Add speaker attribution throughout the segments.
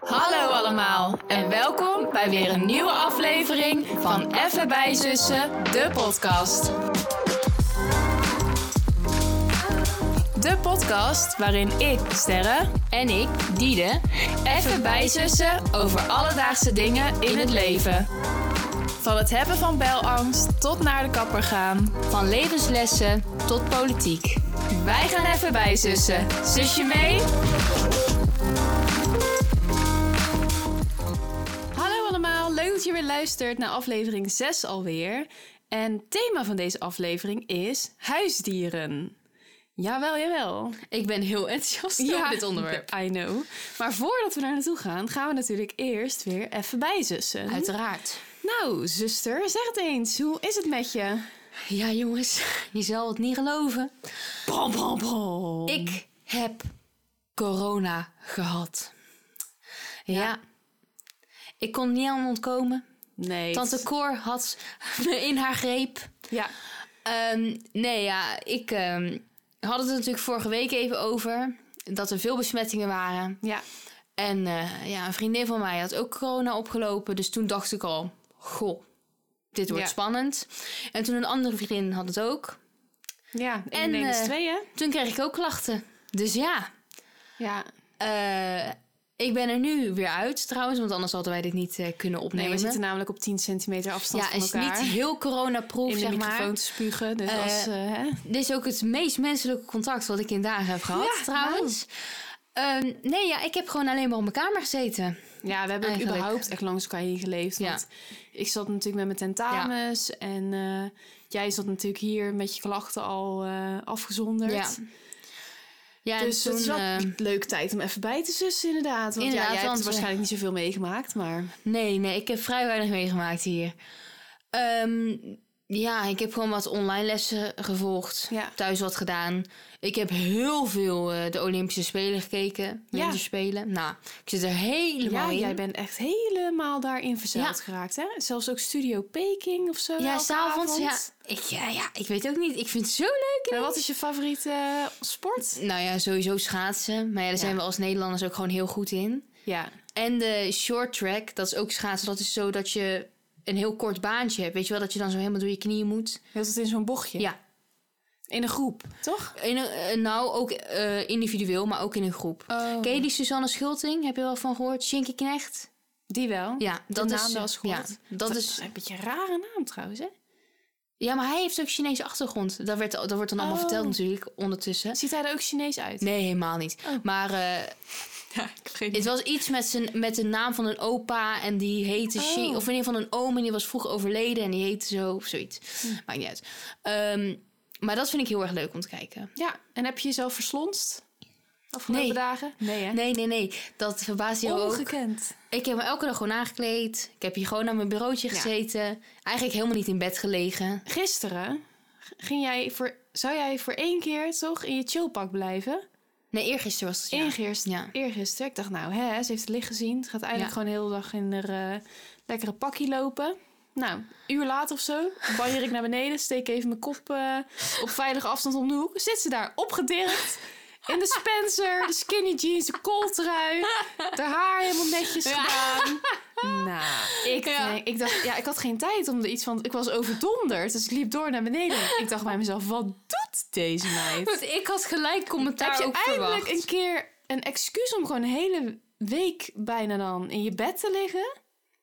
Speaker 1: Hallo allemaal en welkom bij weer een nieuwe aflevering van Even bij Zussen, de podcast. De podcast waarin ik, Sterre, en ik, Diede, even bijzussen over alledaagse dingen in het leven. Van het hebben van belangst tot naar de kapper gaan, van levenslessen tot politiek. Wij gaan even bijzussen. Zus je mee? Hallo allemaal, leuk dat je weer luistert naar aflevering 6 alweer. En thema van deze aflevering is huisdieren. Jawel, jawel.
Speaker 2: Ik ben heel enthousiast over dit onderwerp.
Speaker 1: I know. Maar voordat we daar naartoe gaan, gaan we natuurlijk eerst weer even bijzussen.
Speaker 2: Uiteraard.
Speaker 1: Nou, zuster, zeg het eens. Hoe is het met je?
Speaker 2: Ja, jongens, je zal het niet geloven.
Speaker 1: Brom, brom, brom.
Speaker 2: Ik heb corona gehad. Ja. Ik kon niet aan ontkomen.
Speaker 1: Nee.
Speaker 2: Tante Cor had me in haar greep.
Speaker 1: Ja.
Speaker 2: Ehm, nee, ja, ik ehm, had het er natuurlijk vorige week even over. Dat er veel besmettingen waren.
Speaker 1: Ja.
Speaker 2: En eh, ja, een vriendin van mij had ook corona opgelopen. Dus toen dacht ik al, goh, dit wordt
Speaker 1: Ja.
Speaker 2: spannend. En toen een andere vriendin had het ook.
Speaker 1: Ja. En
Speaker 2: En,
Speaker 1: ineens
Speaker 2: eh,
Speaker 1: twee, hè?
Speaker 2: Toen kreeg ik ook klachten. Dus ja,
Speaker 1: Ja.
Speaker 2: eh, ik ben er nu weer uit trouwens. Want anders hadden wij dit niet eh, kunnen
Speaker 1: Nee,
Speaker 2: opnemen.
Speaker 1: we zitten namelijk op 10 centimeter afstand
Speaker 2: ja,
Speaker 1: van
Speaker 2: het is
Speaker 1: elkaar.
Speaker 2: niet heel coronaproof,
Speaker 1: in de
Speaker 2: zeg
Speaker 1: microfoon
Speaker 2: maar.
Speaker 1: te spugen. Dus
Speaker 2: Eh,
Speaker 1: als, eh, hè?
Speaker 2: Dit is ook het meest menselijke contact wat ik in dagen heb gehad,
Speaker 1: Ja,
Speaker 2: trouwens. Ehm, nee, ja, ik heb gewoon alleen maar op mijn kamer gezeten.
Speaker 1: Ja, we hebben ook
Speaker 2: Eigenlijk.
Speaker 1: überhaupt echt langs elkaar heen geleefd.
Speaker 2: Ja.
Speaker 1: Want ik zat natuurlijk met mijn tentamens. En eh, jij zat natuurlijk hier met je klachten al eh, afgezonderd.
Speaker 2: Ja. Ja, en
Speaker 1: dus
Speaker 2: toen,
Speaker 1: het is wel
Speaker 2: eh,
Speaker 1: een leuke tijd om even bij te zussen, inderdaad. Want ja,
Speaker 2: Inderdaad,
Speaker 1: jij hebt
Speaker 2: want, eh,
Speaker 1: waarschijnlijk niet zoveel meegemaakt, maar...
Speaker 2: Nee, nee, ik heb vrij weinig meegemaakt hier. Ehm, ja, ik heb gewoon wat online lessen gevolgd.
Speaker 1: Ja.
Speaker 2: Thuis wat gedaan. Ik heb heel veel eh, de Olympische Spelen gekeken.
Speaker 1: Ja.
Speaker 2: Winterspelen. Nou, ik zit er helemaal
Speaker 1: Ja,
Speaker 2: in.
Speaker 1: jij bent echt helemaal daarin verzeild
Speaker 2: Ja.
Speaker 1: geraakt, hè? Zelfs ook Studio Peking of zo.
Speaker 2: ja,
Speaker 1: elke
Speaker 2: s'avonds. Ja,
Speaker 1: avond.
Speaker 2: ik, ja, ja, ik weet ook niet. Ik vind het zo leuk.
Speaker 1: En wat is je favoriete eh, sport?
Speaker 2: Nou ja, sowieso schaatsen. Maar ja, daar
Speaker 1: Ja.
Speaker 2: zijn we als Nederlanders ook gewoon heel goed in.
Speaker 1: Ja,
Speaker 2: En de short track, dat is ook schaatsen. Dat is zo dat je een heel kort baantje hebt. Weet je wel, dat je dan zo helemaal door je knieën moet.
Speaker 1: heel het in zo'n bochtje.
Speaker 2: ja.
Speaker 1: In een groep, toch?
Speaker 2: In een- eh, nou, ook eh, individueel, maar ook in een groep.
Speaker 1: Oh.
Speaker 2: Ken je die Susanne Schulting? Heb je wel van gehoord? Shinky Knecht?
Speaker 1: Die wel.
Speaker 2: Ja,
Speaker 1: De
Speaker 2: dat
Speaker 1: naam
Speaker 2: is...
Speaker 1: wel eens
Speaker 2: ja,
Speaker 1: gehoord.
Speaker 2: dat
Speaker 1: is
Speaker 2: is...
Speaker 1: een beetje een rare naam trouwens, hè?
Speaker 2: Ja, maar hij heeft ook Chinese achtergrond. Dat, werd, dat wordt dan allemaal
Speaker 1: Oh.
Speaker 2: verteld natuurlijk ondertussen.
Speaker 1: Ziet hij er ook Chinees uit?
Speaker 2: Nee, helemaal niet.
Speaker 1: Oh.
Speaker 2: Maar eh,
Speaker 1: Ja, ik vergeet
Speaker 2: het was iets met, zijn, met de naam van een opa en die heette...
Speaker 1: Oh.
Speaker 2: Shi- of in ieder geval een oom en die was vroeg overleden en die heette zo of
Speaker 1: Hm.
Speaker 2: zoiets. Maakt niet uit. Ehm, maar dat vind ik heel erg leuk om te kijken.
Speaker 1: Ja, en heb je jezelf verslonst? Afgelopen
Speaker 2: Nee.
Speaker 1: dagen? Nee, hè?
Speaker 2: Nee, nee, nee. Dat verbaast
Speaker 1: Oh,
Speaker 2: je ook.
Speaker 1: Ongekend.
Speaker 2: Ik heb me elke dag gewoon aangekleed. Ik heb hier gewoon aan mijn bureautje
Speaker 1: Ja.
Speaker 2: gezeten. Eigenlijk helemaal niet in bed gelegen.
Speaker 1: Gisteren ging jij voor, zou jij voor één keer toch in je chillpak blijven?
Speaker 2: Nee, eergisteren was het. Ja.
Speaker 1: Eergisteren.
Speaker 2: Ja.
Speaker 1: Eergisteren. Ik dacht, nou, hè, ze heeft het licht gezien. Ze gaat eigenlijk
Speaker 2: Ja.
Speaker 1: gewoon de hele dag in haar eh, lekkere pakje lopen. Nou, een uur later of zo, banjer ik naar beneden, steek even mijn kop eh, op veilige afstand om de hoek. Zit ze daar opgedirkt. In de Spencer, de skinny jeans, de kooltrui. Haar haar helemaal netjes
Speaker 2: Ja.
Speaker 1: gedaan. Nou, ik,
Speaker 2: Ah. Ja.
Speaker 1: denk- ik dacht, ja, ik had geen tijd om er iets van. Ik was overdonderd, dus ik liep door naar beneden. Ik dacht bij mezelf, wat doet deze meid?
Speaker 2: Want ik had gelijk commentaar
Speaker 1: Heb je
Speaker 2: ook
Speaker 1: eindelijk
Speaker 2: verwacht.
Speaker 1: een keer een excuus om gewoon een hele week bijna dan in je bed te liggen?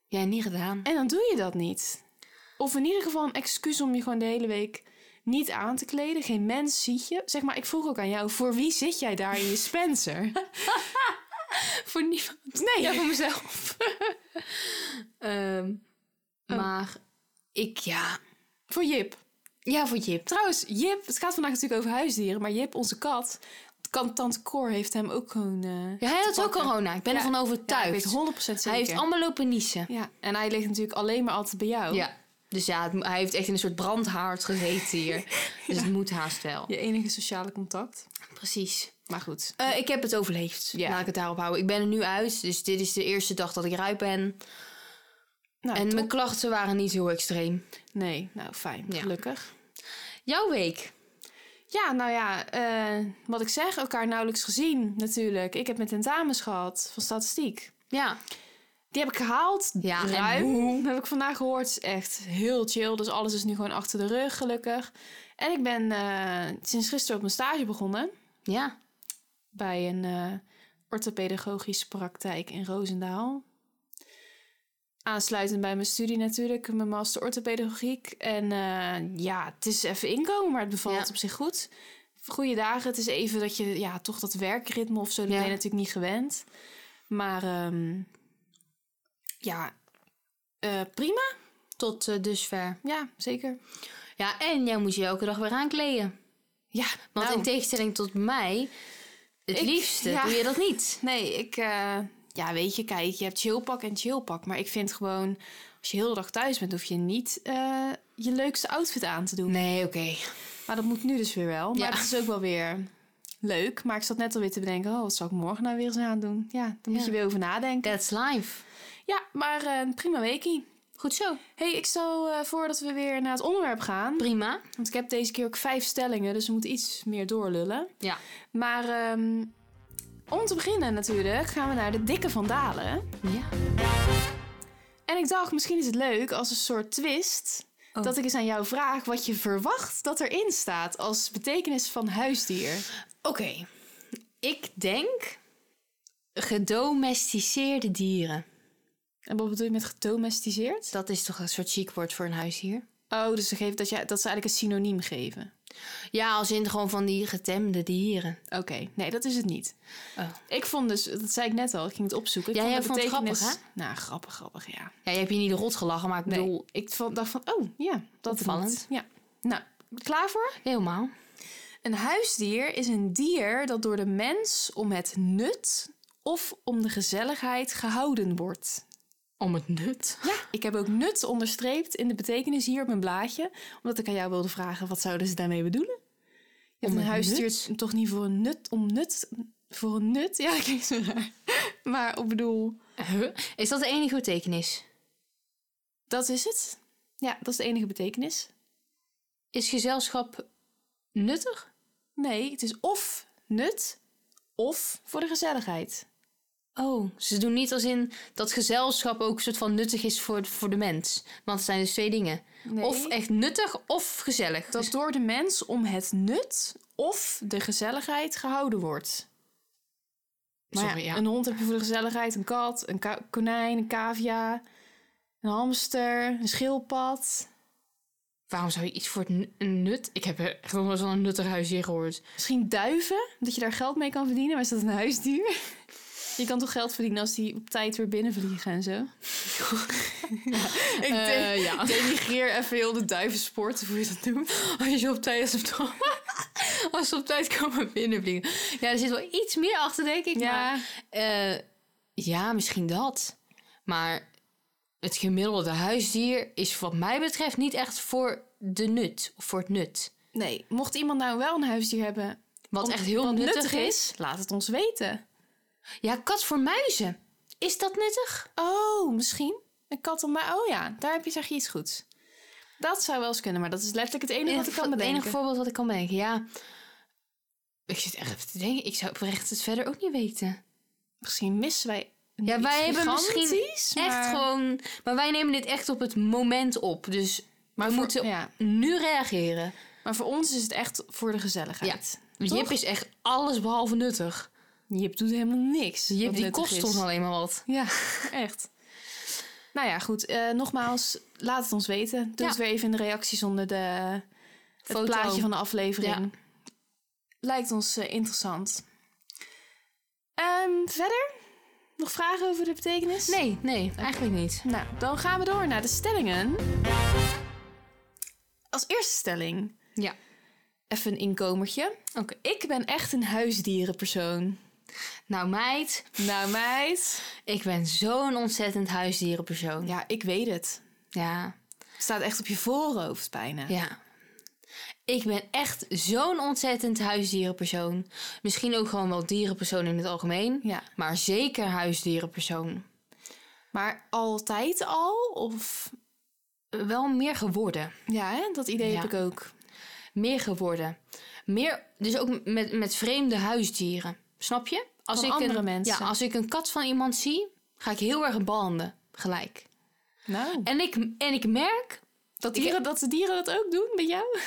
Speaker 2: Ja, niet gedaan.
Speaker 1: En dan doe je dat niet. Of in ieder geval een excuus om je gewoon de hele week niet aan te kleden. Geen mens ziet je. Zeg maar, ik vroeg ook aan jou, voor wie zit jij daar in je Spencer?
Speaker 2: Voor niemand.
Speaker 1: Nee.
Speaker 2: Ja, voor mezelf. Ehm, Maar ik, ja...
Speaker 1: Voor Jip.
Speaker 2: Ja, voor Jip.
Speaker 1: Trouwens, Jip, het gaat vandaag natuurlijk over huisdieren, maar Jip, onze kat, kan- tante Cor heeft hem ook gewoon... eh,
Speaker 2: Ja, hij had ook
Speaker 1: pakken.
Speaker 2: corona. Ik ben
Speaker 1: Ja.
Speaker 2: ervan
Speaker 1: ja, ik
Speaker 2: overtuigd.
Speaker 1: weet 100% zeker.
Speaker 2: hij heeft allemaal lopen niezen.
Speaker 1: ja, en hij ligt natuurlijk alleen maar altijd bij jou.
Speaker 2: Ja. Dus ja, het- hij heeft echt in een soort brandhaard gezeten hier. Dus het moet haast wel.
Speaker 1: Je enige sociale contact.
Speaker 2: Precies.
Speaker 1: Maar goed.
Speaker 2: Eh, ik heb het overleefd.
Speaker 1: Ja.
Speaker 2: Laat ik het daarop houden. Ik ben er nu uit, dus dit is de eerste dag dat ik eruit ben.
Speaker 1: Nou,
Speaker 2: en mijn klachten waren niet heel extreem.
Speaker 1: Nee, nou fijn,
Speaker 2: Ja.
Speaker 1: gelukkig.
Speaker 2: Jouw week?
Speaker 1: Ja, nou ja, eh, wat ik zeg, elkaar nauwelijks gezien natuurlijk. Ik heb mijn tentamens gehad van statistiek.
Speaker 2: Ja.
Speaker 1: Die heb ik gehaald.
Speaker 2: Ja, en
Speaker 1: ruim.
Speaker 2: hoe?
Speaker 1: Dat heb ik vandaag gehoord. Het is echt heel chill. Dus alles is nu gewoon achter de rug, gelukkig. En ik ben eh, sinds gisteren op mijn stage begonnen.
Speaker 2: Ja.
Speaker 1: Bij een eh orthopedagogische praktijk in Roosendaal. Aansluitend bij mijn studie natuurlijk, mijn master orthopedagogiek. En eh, ja, het is even inkomen, maar het bevalt
Speaker 2: Ja.
Speaker 1: op zich goed. Goeie dagen. Het is even dat je, ja, toch dat werkritme of zo, dat
Speaker 2: Ja.
Speaker 1: ben je natuurlijk niet gewend. Maar ehm, ja, eh, prima.
Speaker 2: Tot eh, dusver.
Speaker 1: Ja, zeker.
Speaker 2: Ja, en jij moest je elke dag weer aankleden.
Speaker 1: Ja,
Speaker 2: Want
Speaker 1: nou,
Speaker 2: in tegenstelling tot mij, het
Speaker 1: Ik-
Speaker 2: liefste
Speaker 1: ja.
Speaker 2: doe je dat niet.
Speaker 1: Nee, ik... eh, ja, weet je, kijk, je hebt chillpak en chillpak. Maar ik vind gewoon, als je heel de dag thuis bent... hoef je niet eh, je leukste outfit aan te doen.
Speaker 2: Nee, oké.
Speaker 1: Maar dat moet nu dus weer wel. Maar
Speaker 2: Ja.
Speaker 1: het is ook wel weer leuk. Maar ik zat net alweer te bedenken... oh, wat zal ik morgen nou weer eens aandoen? Ja, daar moet
Speaker 2: Ja.
Speaker 1: je weer over nadenken.
Speaker 2: That's life.
Speaker 1: Ja, maar eh, prima weekie.
Speaker 2: Goed zo.
Speaker 1: hey, ik stel eh, voor dat we weer naar het onderwerp gaan.
Speaker 2: Prima.
Speaker 1: Want ik heb deze keer ook vijf stellingen... dus we moeten iets meer doorlullen.
Speaker 2: Ja.
Speaker 1: Maar ehm, om te beginnen natuurlijk gaan we naar de dikke vandalen.
Speaker 2: Ja.
Speaker 1: En ik dacht, misschien is het leuk als een soort twist...
Speaker 2: Oh.
Speaker 1: dat ik eens aan jou vraag wat je verwacht dat erin staat... als betekenis van huisdier.
Speaker 2: Oké. Ik denk gedomesticeerde dieren.
Speaker 1: En wat bedoel je met gedomesticeerd?
Speaker 2: Dat is toch een soort chic woord voor een huisdier?
Speaker 1: Oh, dus ze geven dat, je, dat ze eigenlijk een synoniem geven.
Speaker 2: Ja, als in gewoon van die getemde dieren.
Speaker 1: Oké, nee, dat is het niet.
Speaker 2: Oh.
Speaker 1: Ik vond dus, dat zei ik net al, ik ging het opzoeken. Ik
Speaker 2: Ja, jij
Speaker 1: de
Speaker 2: vond het
Speaker 1: betekenis-
Speaker 2: grappig,
Speaker 1: Nou, grappig, grappig, ja.
Speaker 2: Ja, je hebt hier niet rot gelachen, maar ik
Speaker 1: Nee,
Speaker 2: bedoel
Speaker 1: ik vond- dacht van, oh ja, dat
Speaker 2: Opvallend.
Speaker 1: niet. Ja, nou, klaar voor?
Speaker 2: helemaal.
Speaker 1: Een huisdier is een dier dat door de mens om het nut of om de gezelligheid gehouden wordt.
Speaker 2: Om het nut.
Speaker 1: Ja, ik heb ook nut onderstreept in de betekenis hier op mijn blaadje, omdat ik aan jou wilde vragen wat zouden ze daarmee bedoelen? Je hebt
Speaker 2: Om
Speaker 1: een
Speaker 2: het
Speaker 1: huisdier toch niet voor een nut om nut voor een nut? Ja, ik kijk zo raar. Maar ik bedoel,
Speaker 2: Huh? Is dat de enige betekenis?
Speaker 1: dat is het. Ja, dat is de enige betekenis.
Speaker 2: Is gezelschap nuttig?
Speaker 1: Nee, het is of nut of voor de gezelligheid.
Speaker 2: Oh, ze doen niet als in dat gezelschap ook een soort van nuttig is voor, voor de mens. Want het zijn dus twee dingen.
Speaker 1: Nee.
Speaker 2: Of echt nuttig of gezellig. Dus
Speaker 1: dat door de mens om het nut of de gezelligheid gehouden wordt. Maar
Speaker 2: Sorry, ja.
Speaker 1: Een hond heb je voor de gezelligheid, een kat, een ka- konijn, een cavia, een hamster, een schildpad.
Speaker 2: Waarom zou je iets voor het nu- een nut... Ik heb echt nog nooit van een nuttig huisdier gehoord.
Speaker 1: Misschien duiven, omdat je daar geld mee kan verdienen. Maar is dat een huisdier? Je kan toch geld verdienen als die op tijd weer binnenvliegen en zo? ik
Speaker 2: Eh, ja.
Speaker 1: denigreer Nou, even heel de duivensport, of hoe je dat noemt.
Speaker 2: Als je op tijd als ze op, als ze op tijd komen binnenvliegen. Ja, er zit wel iets meer achter, denk ik. Maar,
Speaker 1: Ja,
Speaker 2: eh, ja, misschien dat. Maar het gemiddelde huisdier is wat mij betreft niet echt voor de nut. Of voor het nut.
Speaker 1: nee. Mocht iemand nou wel een huisdier hebben
Speaker 2: Wat
Speaker 1: Om-
Speaker 2: echt heel
Speaker 1: wat
Speaker 2: nuttig, is.
Speaker 1: laat het ons weten.
Speaker 2: Ja, kat voor muizen. Is dat nuttig?
Speaker 1: Oh, misschien een kat om mij. Oh ja, daar heb je zeg je iets goeds. Dat zou wel eens kunnen, maar dat is letterlijk het enige wat ik kan
Speaker 2: Het
Speaker 1: bedenken.
Speaker 2: enige voorbeeld wat ik kan bedenken, ja. Ik zit echt even te denken. Ik zou oprecht het verder ook niet weten.
Speaker 1: Misschien missen wij.
Speaker 2: Ja, wij hebben misschien
Speaker 1: maar...
Speaker 2: Echt gewoon... Maar wij nemen dit echt op het moment op. Dus
Speaker 1: Maar
Speaker 2: we
Speaker 1: voor-
Speaker 2: moeten
Speaker 1: ja.
Speaker 2: nu reageren.
Speaker 1: Maar voor ons is het echt voor de gezelligheid. Toch?
Speaker 2: Jip is echt alles behalve nuttig.
Speaker 1: Jip doet helemaal niks.
Speaker 2: Jip
Speaker 1: wat
Speaker 2: die
Speaker 1: nuttig
Speaker 2: kost
Speaker 1: is.
Speaker 2: ons alleen maar wat.
Speaker 1: Ja, echt. Nou ja, goed. eh, nogmaals, laat het ons weten. Doe
Speaker 2: Ja.
Speaker 1: het weer even in de reacties onder de, het
Speaker 2: Foto.
Speaker 1: plaatje van de aflevering. Lijkt ons eh, interessant. Ehm, verder? Nog vragen over de betekenis?
Speaker 2: Nee, nee, eigenlijk niet.
Speaker 1: Nou, dan gaan we door naar de stellingen. Als eerste stelling.
Speaker 2: Ja.
Speaker 1: Even een inkomertje.
Speaker 2: Oké.
Speaker 1: Ik ben echt een huisdierenpersoon.
Speaker 2: Nou meid,
Speaker 1: Nou meid.
Speaker 2: ik ben zo'n ontzettend huisdierenpersoon.
Speaker 1: Ja, ik weet het.
Speaker 2: Ja.
Speaker 1: Het staat echt op je voorhoofd bijna.
Speaker 2: Ja. Ik ben echt zo'n ontzettend huisdierenpersoon. Misschien ook gewoon wel dierenpersoon in het algemeen.
Speaker 1: Ja.
Speaker 2: Maar zeker huisdierenpersoon.
Speaker 1: Maar altijd al? Of...
Speaker 2: Wel meer geworden.
Speaker 1: Ja, hè? dat idee
Speaker 2: Ja.
Speaker 1: heb ik ook.
Speaker 2: Meer geworden. Meer, dus ook met, met vreemde huisdieren. Snap je? Als
Speaker 1: Van
Speaker 2: ik
Speaker 1: andere
Speaker 2: een,
Speaker 1: mensen.
Speaker 2: Ja, als ik een kat van iemand zie, ga ik heel erg branden. Gelijk.
Speaker 1: Nou,
Speaker 2: En ik, en ik merk
Speaker 1: dat, dieren, dat de dieren dat ook doen bij jou?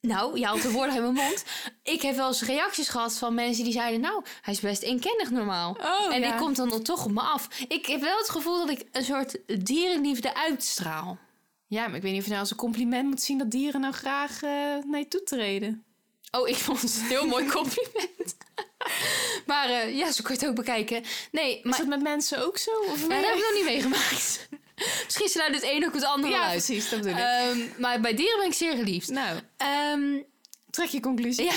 Speaker 2: Nou, je haalt de woorden uit mijn mond. Ik heb wel eens reacties gehad van mensen die zeiden... nou, hij is best eenkennig normaal.
Speaker 1: Oh,
Speaker 2: en
Speaker 1: ja.
Speaker 2: ik kom dan nog toch op me af. Ik heb wel het gevoel dat ik een soort dierenliefde uitstraal.
Speaker 1: Ja, maar ik weet niet of je nou als een compliment moet zien dat dieren nou graag eh, naar je toe treden.
Speaker 2: Oh, ik vond het een heel mooi compliment. maar eh, ja, zo kun je het ook bekijken. Nee,
Speaker 1: Is
Speaker 2: maar
Speaker 1: dat met mensen ook zo? Of
Speaker 2: Ja, dat heb ik nog niet meegemaakt. Misschien sluit het een ook het andere
Speaker 1: ja,
Speaker 2: uit.
Speaker 1: precies, dat bedoel ik.
Speaker 2: Ehm, maar bij dieren ben ik zeer geliefd.
Speaker 1: nou,
Speaker 2: Ehm,
Speaker 1: trek je conclusie.
Speaker 2: Ja.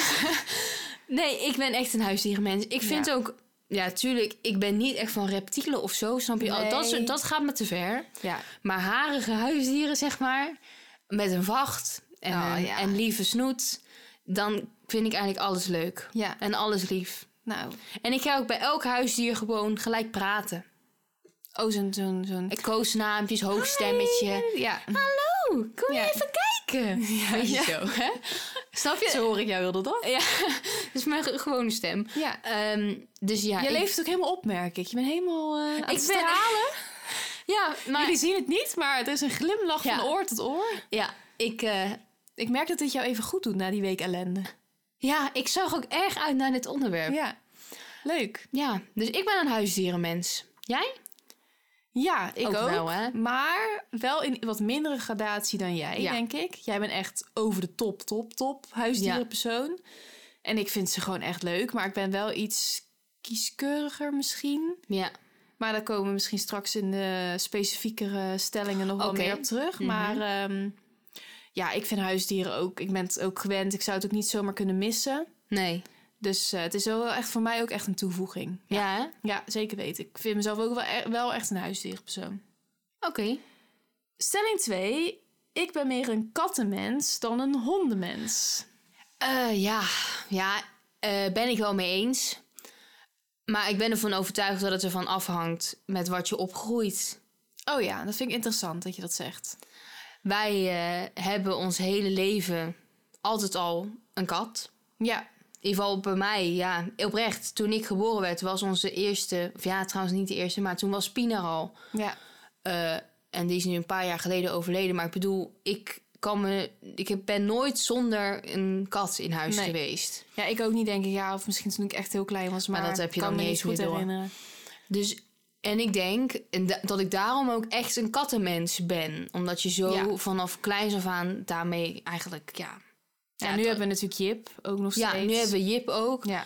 Speaker 2: Nee, ik ben echt een huisdierenmens. Ik vind
Speaker 1: Ja.
Speaker 2: ook... Ja, tuurlijk, ik ben niet echt van reptielen of zo, snap je? Oh,
Speaker 1: Nee.
Speaker 2: Dat, soort- dat gaat me te ver.
Speaker 1: Ja.
Speaker 2: Maar harige huisdieren, zeg maar, met een vacht en,
Speaker 1: Oh,
Speaker 2: een-
Speaker 1: ja.
Speaker 2: en lieve snoet... dan vind ik eigenlijk alles leuk.
Speaker 1: Ja.
Speaker 2: En alles lief.
Speaker 1: Nou,
Speaker 2: En ik ga ook bij elk huisdier gewoon gelijk praten.
Speaker 1: oh, zo'n... zo'n zo'n
Speaker 2: Ik koosnaampjes, hoogstemmetje.
Speaker 1: Ja.
Speaker 2: Ah, Hallo, kom
Speaker 1: Ja.
Speaker 2: Oh, je even kijken? Weet je
Speaker 1: ja.
Speaker 2: zo, hè? Snap je?
Speaker 1: Zo hoor ik jou heel de dag.
Speaker 2: Ja, dat is mijn ge- gewone stem.
Speaker 1: Ja.
Speaker 2: Ehm, dus ja,
Speaker 1: je
Speaker 2: ik-
Speaker 1: leeft ook helemaal op, merk ik. Je bent helemaal eh, aan
Speaker 2: Ik
Speaker 1: het
Speaker 2: ben-
Speaker 1: stralen.
Speaker 2: Ja, maar
Speaker 1: Jullie zien het niet, maar er is een glimlach
Speaker 2: Ja.
Speaker 1: van oor tot oor.
Speaker 2: ja, ik, eh,
Speaker 1: Ik merk dat dit jou even goed doet na die week ellende.
Speaker 2: ja, ik zag ook erg uit naar dit onderwerp. Ja,
Speaker 1: Ja. Leuk.
Speaker 2: dus ik ben een huisdierenmens. Jij?
Speaker 1: Ja, ik ook.
Speaker 2: wel, hè?
Speaker 1: Maar wel in wat mindere gradatie dan jij,
Speaker 2: Ja.
Speaker 1: denk ik. Jij bent echt over de top, top, top huisdierenpersoon. En ik vind ze gewoon echt leuk. Maar ik ben wel iets kieskeuriger misschien.
Speaker 2: Ja.
Speaker 1: Maar daar komen we misschien straks in de specifiekere stellingen nog wel
Speaker 2: Oké.
Speaker 1: meer op terug.
Speaker 2: Mhm.
Speaker 1: Maar ehm, ja, ik vind huisdieren ook... Ik ben het ook gewend. Ik zou het ook niet zomaar kunnen missen.
Speaker 2: Nee.
Speaker 1: Dus eh, het is wel echt voor mij ook echt een toevoeging.
Speaker 2: Ja, hè?
Speaker 1: Ja, zeker weten. Ik vind mezelf ook wel, e- wel echt een huisdierpersoon.
Speaker 2: Oké.
Speaker 1: Stelling 2. Ik ben meer een kattenmens dan een hondenmens.
Speaker 2: Eh, ja, ja eh, ben ik wel mee eens. Maar ik ben ervan overtuigd dat het ervan afhangt met wat je opgroeit.
Speaker 1: Oh ja, dat vind ik interessant dat je dat zegt.
Speaker 2: Wij eh, hebben ons hele leven altijd al een kat.
Speaker 1: Ja.
Speaker 2: In ieder geval bij mij, ja, oprecht. Toen ik geboren werd, was onze eerste... Of ja, trouwens niet de eerste, maar toen was Pina er al.
Speaker 1: Ja.
Speaker 2: Eh, en die is nu een paar jaar geleden overleden. Maar ik bedoel, ik, kan me, ik heb- ben nooit zonder een kat in huis
Speaker 1: Nee.
Speaker 2: geweest.
Speaker 1: ja, ik ook niet denken, ja, of misschien toen ik echt heel klein was. Maar,
Speaker 2: Maar dat heb je
Speaker 1: kan
Speaker 2: dan
Speaker 1: me
Speaker 2: niet
Speaker 1: niet
Speaker 2: eens
Speaker 1: goed
Speaker 2: meer door.
Speaker 1: herinneren.
Speaker 2: Dus, en ik denk en da- dat ik daarom ook echt een kattenmens ben. Omdat je zo
Speaker 1: Ja.
Speaker 2: vanaf kleins af aan daarmee eigenlijk, ja...
Speaker 1: Ja,
Speaker 2: Ja,
Speaker 1: nu
Speaker 2: dat-
Speaker 1: hebben we natuurlijk Jip ook nog
Speaker 2: Ja,
Speaker 1: steeds.
Speaker 2: nu hebben we Jip ook.
Speaker 1: Ja.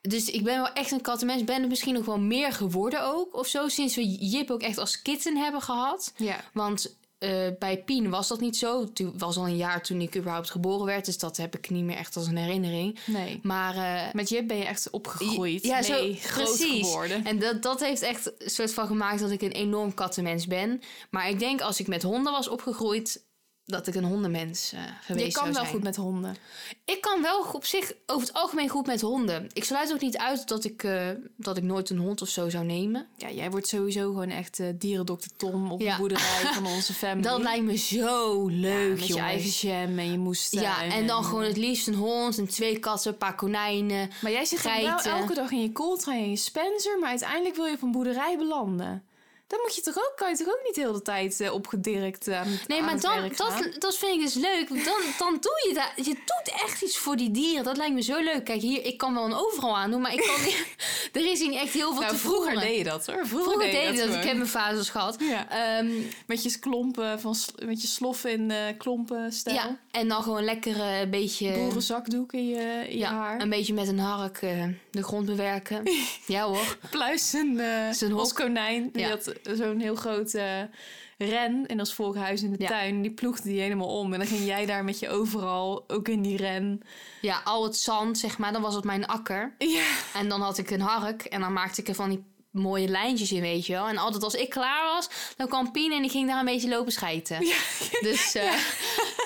Speaker 2: Dus ik ben wel echt een kattenmens. Ben er misschien nog wel meer geworden ook, of zo. Sinds we Jip ook echt als kitten hebben gehad.
Speaker 1: Ja.
Speaker 2: Want eh, bij Pien was dat niet zo. Toen was al een jaar toen ik überhaupt geboren werd. Dus dat heb ik niet meer echt als een herinnering.
Speaker 1: Nee.
Speaker 2: Maar... eh,
Speaker 1: Met Jip ben je echt opgegroeid.
Speaker 2: ja, zo-
Speaker 1: mee, groot
Speaker 2: precies.
Speaker 1: geworden.
Speaker 2: en dat, dat heeft echt een soort van gemaakt dat ik een enorm kattenmens ben. Maar ik denk als ik met honden was opgegroeid, dat ik een hondenmens eh geweest
Speaker 1: Je kan wel
Speaker 2: zou zijn.
Speaker 1: goed met honden.
Speaker 2: Ik kan wel op zich over het algemeen goed met honden. Ik sluit ook niet uit dat ik, eh, dat ik nooit een hond of zo zou nemen.
Speaker 1: Ja, jij wordt sowieso gewoon echt eh, dierendokter Tom op
Speaker 2: Ja.
Speaker 1: de boerderij van onze family.
Speaker 2: Dat lijkt me zo
Speaker 1: Ja,
Speaker 2: leuk,
Speaker 1: Met je
Speaker 2: jongens.
Speaker 1: eigen jam en je moestuin.
Speaker 2: ja, en dan gewoon het liefst een hond en twee katten, een paar konijnen.
Speaker 1: Maar jij zit dan wel
Speaker 2: geiten.
Speaker 1: elke dag in je kooltrui en je Spencer, maar uiteindelijk wil je op een boerderij belanden. Dan moet je toch ook, kan je toch ook niet heel de tijd eh, opgedirkt eh, aan het-
Speaker 2: Nee,
Speaker 1: aan
Speaker 2: maar
Speaker 1: het
Speaker 2: dan,
Speaker 1: werk gaan?
Speaker 2: dat, dat vind ik dus leuk. want Dan, dan doe je dat. Je doet echt iets voor die dieren. Dat lijkt me zo leuk. Kijk, hier, ik kan wel een overal aan doen, maar ik kan niet- er is hier echt heel veel
Speaker 1: nou,
Speaker 2: te
Speaker 1: vroeger
Speaker 2: voeren.
Speaker 1: deed je dat hoor. Vroeger,
Speaker 2: Vroeger deed je dat.
Speaker 1: gewoon.
Speaker 2: Ik heb mijn fases gehad.
Speaker 1: Ja.
Speaker 2: Ehm,
Speaker 1: Met je klompen van sl- met je sloffen in eh, klompen stijl.
Speaker 2: ja, en dan gewoon lekker eh, een beetje...
Speaker 1: Boerenzakdoek in je, in je
Speaker 2: ja,
Speaker 1: haar.
Speaker 2: een beetje met een hark eh, de grond bewerken. ja hoor.
Speaker 1: pluis een, eh,
Speaker 2: Zijn
Speaker 1: als
Speaker 2: hok.
Speaker 1: konijn. Die
Speaker 2: Ja.
Speaker 1: had zo'n heel groot eh, ren in ons volkhuis in de
Speaker 2: Ja.
Speaker 1: tuin. Die ploegde die helemaal om. En dan ging jij daar met je overal, ook in die ren.
Speaker 2: Ja, al het zand, zeg maar. Dan was het mijn akker.
Speaker 1: Ja.
Speaker 2: En dan had ik een hark en dan maakte ik er van die mooie lijntjes in, weet je wel. En altijd als ik klaar was, dan kwam Pien en die ging daar een beetje lopen schijten. Dus eh,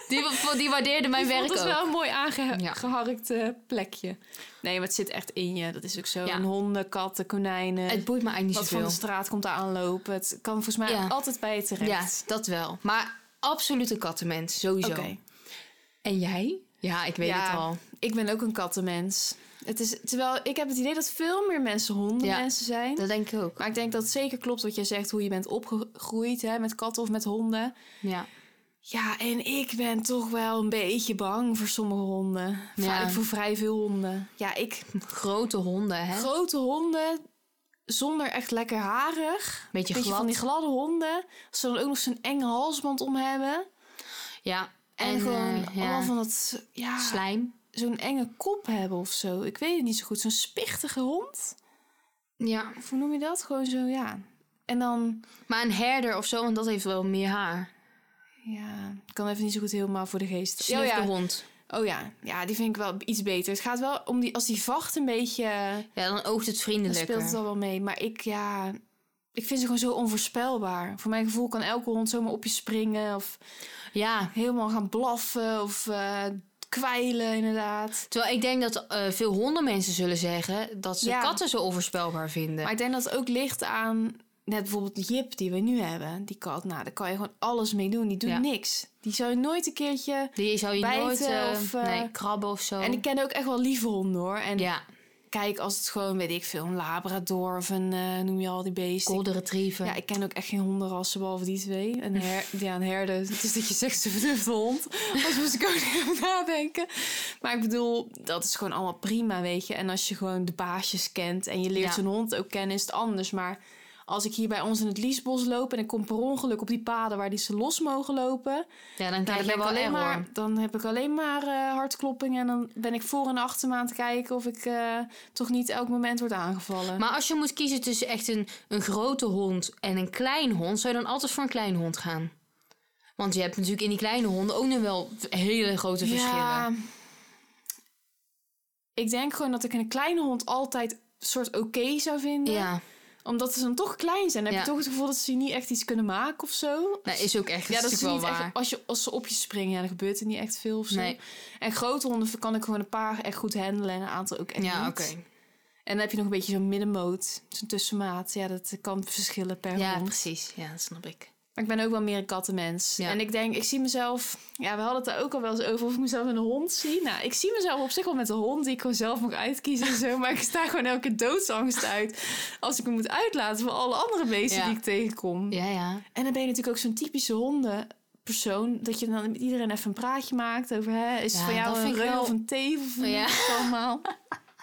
Speaker 2: die, wa- die waardeerde mijn
Speaker 1: Ik vond
Speaker 2: werk
Speaker 1: het
Speaker 2: ook.
Speaker 1: wel een mooi aangeharkt
Speaker 2: Ja.
Speaker 1: plekje. Nee, maar het zit echt in je. Dat is ook zo.
Speaker 2: Ja.
Speaker 1: Een honden, katten, konijnen.
Speaker 2: Het boeit me eigenlijk
Speaker 1: wat
Speaker 2: niet
Speaker 1: van de
Speaker 2: zoveel.
Speaker 1: straat komt daar aanlopen. Het kan volgens mij
Speaker 2: Ja.
Speaker 1: altijd bij je terecht.
Speaker 2: Ja, dat wel. Maar absoluut een kattenmens, sowieso.
Speaker 1: Oké.
Speaker 2: En jij? Ja, ik weet
Speaker 1: Ja.
Speaker 2: het al.
Speaker 1: Ik ben ook een kattenmens. Het is, terwijl ik heb het idee dat veel meer mensen hondenmensen zijn.
Speaker 2: Dat denk ik ook.
Speaker 1: Maar ik denk dat het zeker klopt wat jij zegt, hoe je bent opgegroeid hè, met katten of met honden.
Speaker 2: Ja.
Speaker 1: Ja, en ik ben toch wel een beetje bang voor sommige honden.
Speaker 2: Ja.
Speaker 1: Ja. Voor vrij veel honden. Ja, ik.
Speaker 2: Grote honden, hè?
Speaker 1: Grote honden, zonder echt lekker harig.
Speaker 2: Beetje
Speaker 1: Beetje van
Speaker 2: glad.
Speaker 1: die gladde honden. Als ze dan ook nog zo'n enge halsband om hebben.
Speaker 2: Ja.
Speaker 1: En, gewoon
Speaker 2: eh, ja.
Speaker 1: allemaal van dat, ja,
Speaker 2: slijm.
Speaker 1: zo'n enge kop hebben of zo. Ik weet het niet zo goed. Zo'n spichtige hond.
Speaker 2: Ja.
Speaker 1: Of hoe noem je dat? Gewoon zo, ja. En dan,
Speaker 2: Maar een herder of zo, want dat heeft wel meer haar.
Speaker 1: ja, ik kan even niet zo goed helemaal voor de geest.
Speaker 2: Snuf de hond.
Speaker 1: Oh ja, ja, die vind ik wel iets beter. Het gaat wel om die, als die vacht een beetje,
Speaker 2: Ja, dan oogt het
Speaker 1: dan
Speaker 2: vriendelijker.
Speaker 1: speelt het al wel mee. Maar ik, ja, ik vind ze gewoon zo onvoorspelbaar. Voor mijn gevoel kan elke hond zomaar op je springen of
Speaker 2: Ja.
Speaker 1: helemaal gaan blaffen of eh, kwijlen inderdaad.
Speaker 2: Terwijl ik denk dat eh, veel hondenmensen zullen zeggen dat ze
Speaker 1: Ja.
Speaker 2: katten zo onvoorspelbaar vinden.
Speaker 1: Maar ik denk dat het ook ligt aan, net bijvoorbeeld Jip die we nu hebben, die kat. Nou, daar kan je gewoon alles mee doen. Die doet
Speaker 2: Ja.
Speaker 1: niks. Die zou je nooit een keertje...
Speaker 2: Die zou je
Speaker 1: Bijten
Speaker 2: nooit eh,
Speaker 1: of, eh,
Speaker 2: nee, krabben of zo.
Speaker 1: En ik ken ook echt wel lieve honden hoor. En
Speaker 2: ja,
Speaker 1: kijk, als het gewoon, weet ik veel, een labrador of een, eh, noem je al die beesten.
Speaker 2: golden Hm. retriever.
Speaker 1: Ja, ik ken ook echt geen hondenrassen behalve die twee. Een her, ja, een herder. Het is dat je zegt ze verdufte hond. Anders moest ik ook even nadenken. Maar ik bedoel, dat is gewoon allemaal prima, weet je. En als je gewoon de baasjes kent en je leert
Speaker 2: Ja.
Speaker 1: zo'n hond ook kennen, is het anders. Maar als ik hier bij ons in het Liesbos loop en ik kom per ongeluk op die paden waar die ze los mogen lopen,
Speaker 2: Ja, dan
Speaker 1: nou, dan,
Speaker 2: krijg
Speaker 1: ben
Speaker 2: je
Speaker 1: ik
Speaker 2: wel
Speaker 1: alleen
Speaker 2: error.
Speaker 1: maar, dan heb ik alleen maar eh, hartkloppingen en dan ben ik voor en achter me aan het kijken of ik eh, toch niet elk moment word aangevallen.
Speaker 2: Maar als je moet kiezen tussen echt een, een grote hond en een klein hond, zou je dan altijd voor een klein hond gaan? Want je hebt natuurlijk in die kleine honden ook nog wel hele grote verschillen.
Speaker 1: Ik denk gewoon dat ik een kleine hond altijd soort oké zou vinden.
Speaker 2: Ja,
Speaker 1: Omdat ze dan toch klein zijn. Dan heb
Speaker 2: Ja.
Speaker 1: je toch het gevoel dat ze niet echt iets kunnen maken of zo.
Speaker 2: dat is ook echt.
Speaker 1: Ja, dat is
Speaker 2: natuurlijk wel
Speaker 1: niet
Speaker 2: waar.
Speaker 1: echt, als, je, als ze op je springen, ja, dan gebeurt er niet echt veel of zo.
Speaker 2: Nee.
Speaker 1: En grote honden kan ik gewoon een paar echt goed handelen en een aantal ook echt
Speaker 2: Ja,
Speaker 1: niet.
Speaker 2: oké.
Speaker 1: En dan heb je nog een beetje zo'n middenmoot, zo'n tussenmaat. Ja, dat kan verschillen per
Speaker 2: Ja,
Speaker 1: hond.
Speaker 2: precies. Ja, dat snap ik.
Speaker 1: Maar ik ben ook wel meer een kattenmens.
Speaker 2: Ja.
Speaker 1: En ik denk, ik zie mezelf... Ja, we hadden het daar ook al wel eens over of ik mezelf met een hond zie. Nou, ik zie mezelf op zich wel met een hond die ik gewoon zelf mag uitkiezen en zo. Maar ik sta gewoon elke keer doodsangst uit als ik hem moet uitlaten voor alle andere beesten
Speaker 2: Ja.
Speaker 1: die ik tegenkom.
Speaker 2: Ja, ja.
Speaker 1: En dan ben je natuurlijk ook zo'n typische hondenpersoon. Dat je dan met iedereen even een praatje maakt over... Hè, is het
Speaker 2: Ja,
Speaker 1: van jou
Speaker 2: dat
Speaker 1: een
Speaker 2: vind ik
Speaker 1: reu
Speaker 2: wel-
Speaker 1: of een teef of
Speaker 2: Ja.
Speaker 1: niet allemaal.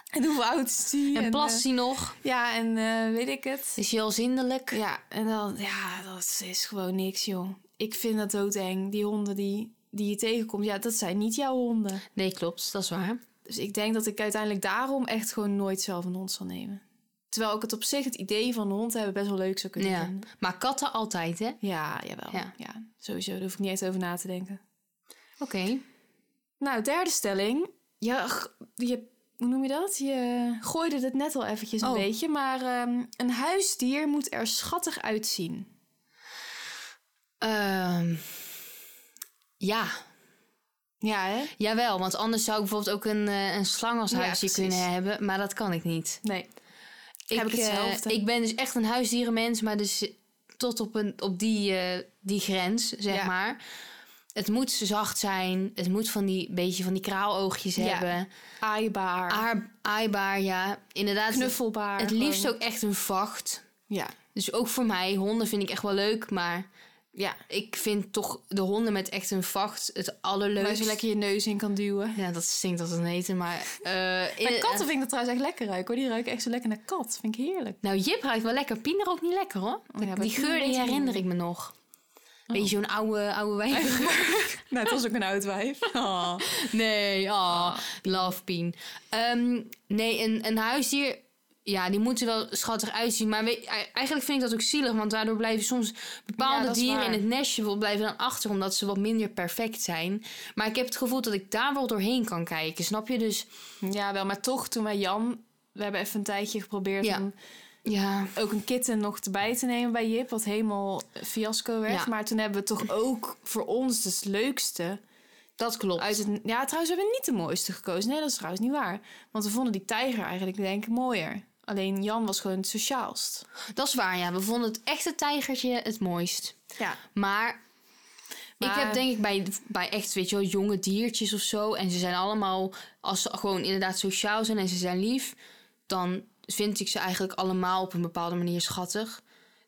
Speaker 1: En hoe oud is die?
Speaker 2: En
Speaker 1: eh,
Speaker 2: plast hij nog?
Speaker 1: ja, en eh, weet ik het.
Speaker 2: Is hij al zindelijk?
Speaker 1: Ja, en dan, ja, dat is gewoon niks, joh. Ik vind dat doodeng. Die honden die, die je tegenkomt, ja, dat zijn niet jouw honden.
Speaker 2: Nee, klopt. Dat is waar.
Speaker 1: Dus ik denk dat ik uiteindelijk daarom echt gewoon nooit zelf een hond zal nemen. Terwijl ik het op zich, het idee van een hond hebben, best wel leuk zou kunnen
Speaker 2: Ja.
Speaker 1: vinden.
Speaker 2: Maar katten altijd, hè? Oké.
Speaker 1: Ja, jawel. Ja.
Speaker 2: Ja.
Speaker 1: sowieso. Daar hoef ik niet echt over na te denken. Nou, derde stelling. Ja, g- je, hoe noem je dat? Je gooide het net al eventjes een
Speaker 2: Oh.
Speaker 1: beetje. Maar ehm, een huisdier moet er schattig uitzien.
Speaker 2: Ehm, ja.
Speaker 1: Ja, hè?
Speaker 2: Jawel, want anders zou ik bijvoorbeeld ook een, eh, een slang als
Speaker 1: Ja,
Speaker 2: huisje
Speaker 1: precies.
Speaker 2: kunnen hebben. Maar dat kan ik niet.
Speaker 1: Nee. Heb ik
Speaker 2: eh,
Speaker 1: hetzelfde.
Speaker 2: ik ben dus echt een huisdierenmens, maar dus tot op, een, op die, eh, die grens, zeg
Speaker 1: Ja.
Speaker 2: maar. Het moet zacht zijn. Het moet van die beetje van die kraaloogjes
Speaker 1: Ja.
Speaker 2: hebben.
Speaker 1: Aaibaar.
Speaker 2: Aar, aaibaar, ja. Inderdaad,
Speaker 1: knuffelbaar.
Speaker 2: het liefst
Speaker 1: gewoon.
Speaker 2: ook echt een vacht.
Speaker 1: Ja.
Speaker 2: Dus ook voor mij, honden vind ik echt wel leuk, maar
Speaker 1: ja.
Speaker 2: ik vind toch de honden met echt een vacht het allerleukst.
Speaker 1: Waar je zo lekker je neus in kan duwen.
Speaker 2: Ja, dat stinkt als een eten, maar... eh, in-
Speaker 1: Bij katten vind ik dat trouwens echt lekker ruiken hoor. Die ruiken echt zo lekker naar kat. Vind ik heerlijk.
Speaker 2: Nou, Jip ruikt wel lekker. Pinder ook niet lekker, hoor.
Speaker 1: Oh ja, bij
Speaker 2: die
Speaker 1: Pinder
Speaker 2: geur,
Speaker 1: weet
Speaker 2: die
Speaker 1: ik
Speaker 2: herinner
Speaker 1: niet.
Speaker 2: ik me nog.
Speaker 1: Oh.
Speaker 2: Beetje zo'n oude, oude wijn.
Speaker 1: Nou, het was ook een oud wijf. Oh.
Speaker 2: nee, ah, love Pien. Ehm, nee, een, een huisdier... Ja, die moeten wel schattig uitzien. Maar weet- ei- eigenlijk vind ik dat ook zielig. Want daardoor blijven soms
Speaker 1: Ja,
Speaker 2: bepaalde
Speaker 1: dat is
Speaker 2: dieren
Speaker 1: waar.
Speaker 2: in het nestje wel blijven dan achter. Omdat ze wat minder perfect zijn. Maar ik heb het gevoel dat ik daar wel doorheen kan kijken. Snap je? Dus
Speaker 1: Ja, wel. Maar toch, toen wij Jan... We hebben even een tijdje geprobeerd
Speaker 2: Ja.
Speaker 1: om
Speaker 2: ja,
Speaker 1: ook een kitten nog erbij te nemen bij Jip. Wat helemaal fiasco werd.
Speaker 2: Ja.
Speaker 1: Maar toen hebben we toch ook voor ons dus het leukste...
Speaker 2: dat klopt.
Speaker 1: Uit het, ja, trouwens, we hebben niet de mooiste gekozen. Nee, dat is trouwens niet waar. Want we vonden die tijger eigenlijk, denk ik, mooier. Alleen Jan was gewoon het sociaalst.
Speaker 2: Dat is waar, ja. We vonden het echte tijgertje het mooist.
Speaker 1: Ja.
Speaker 2: Maar Ik heb denk ik bij, bij echt, weet je wel, jonge diertjes of zo. En ze zijn allemaal, als ze gewoon inderdaad sociaal zijn en ze zijn lief, dan vind ik ze eigenlijk allemaal op een bepaalde manier schattig.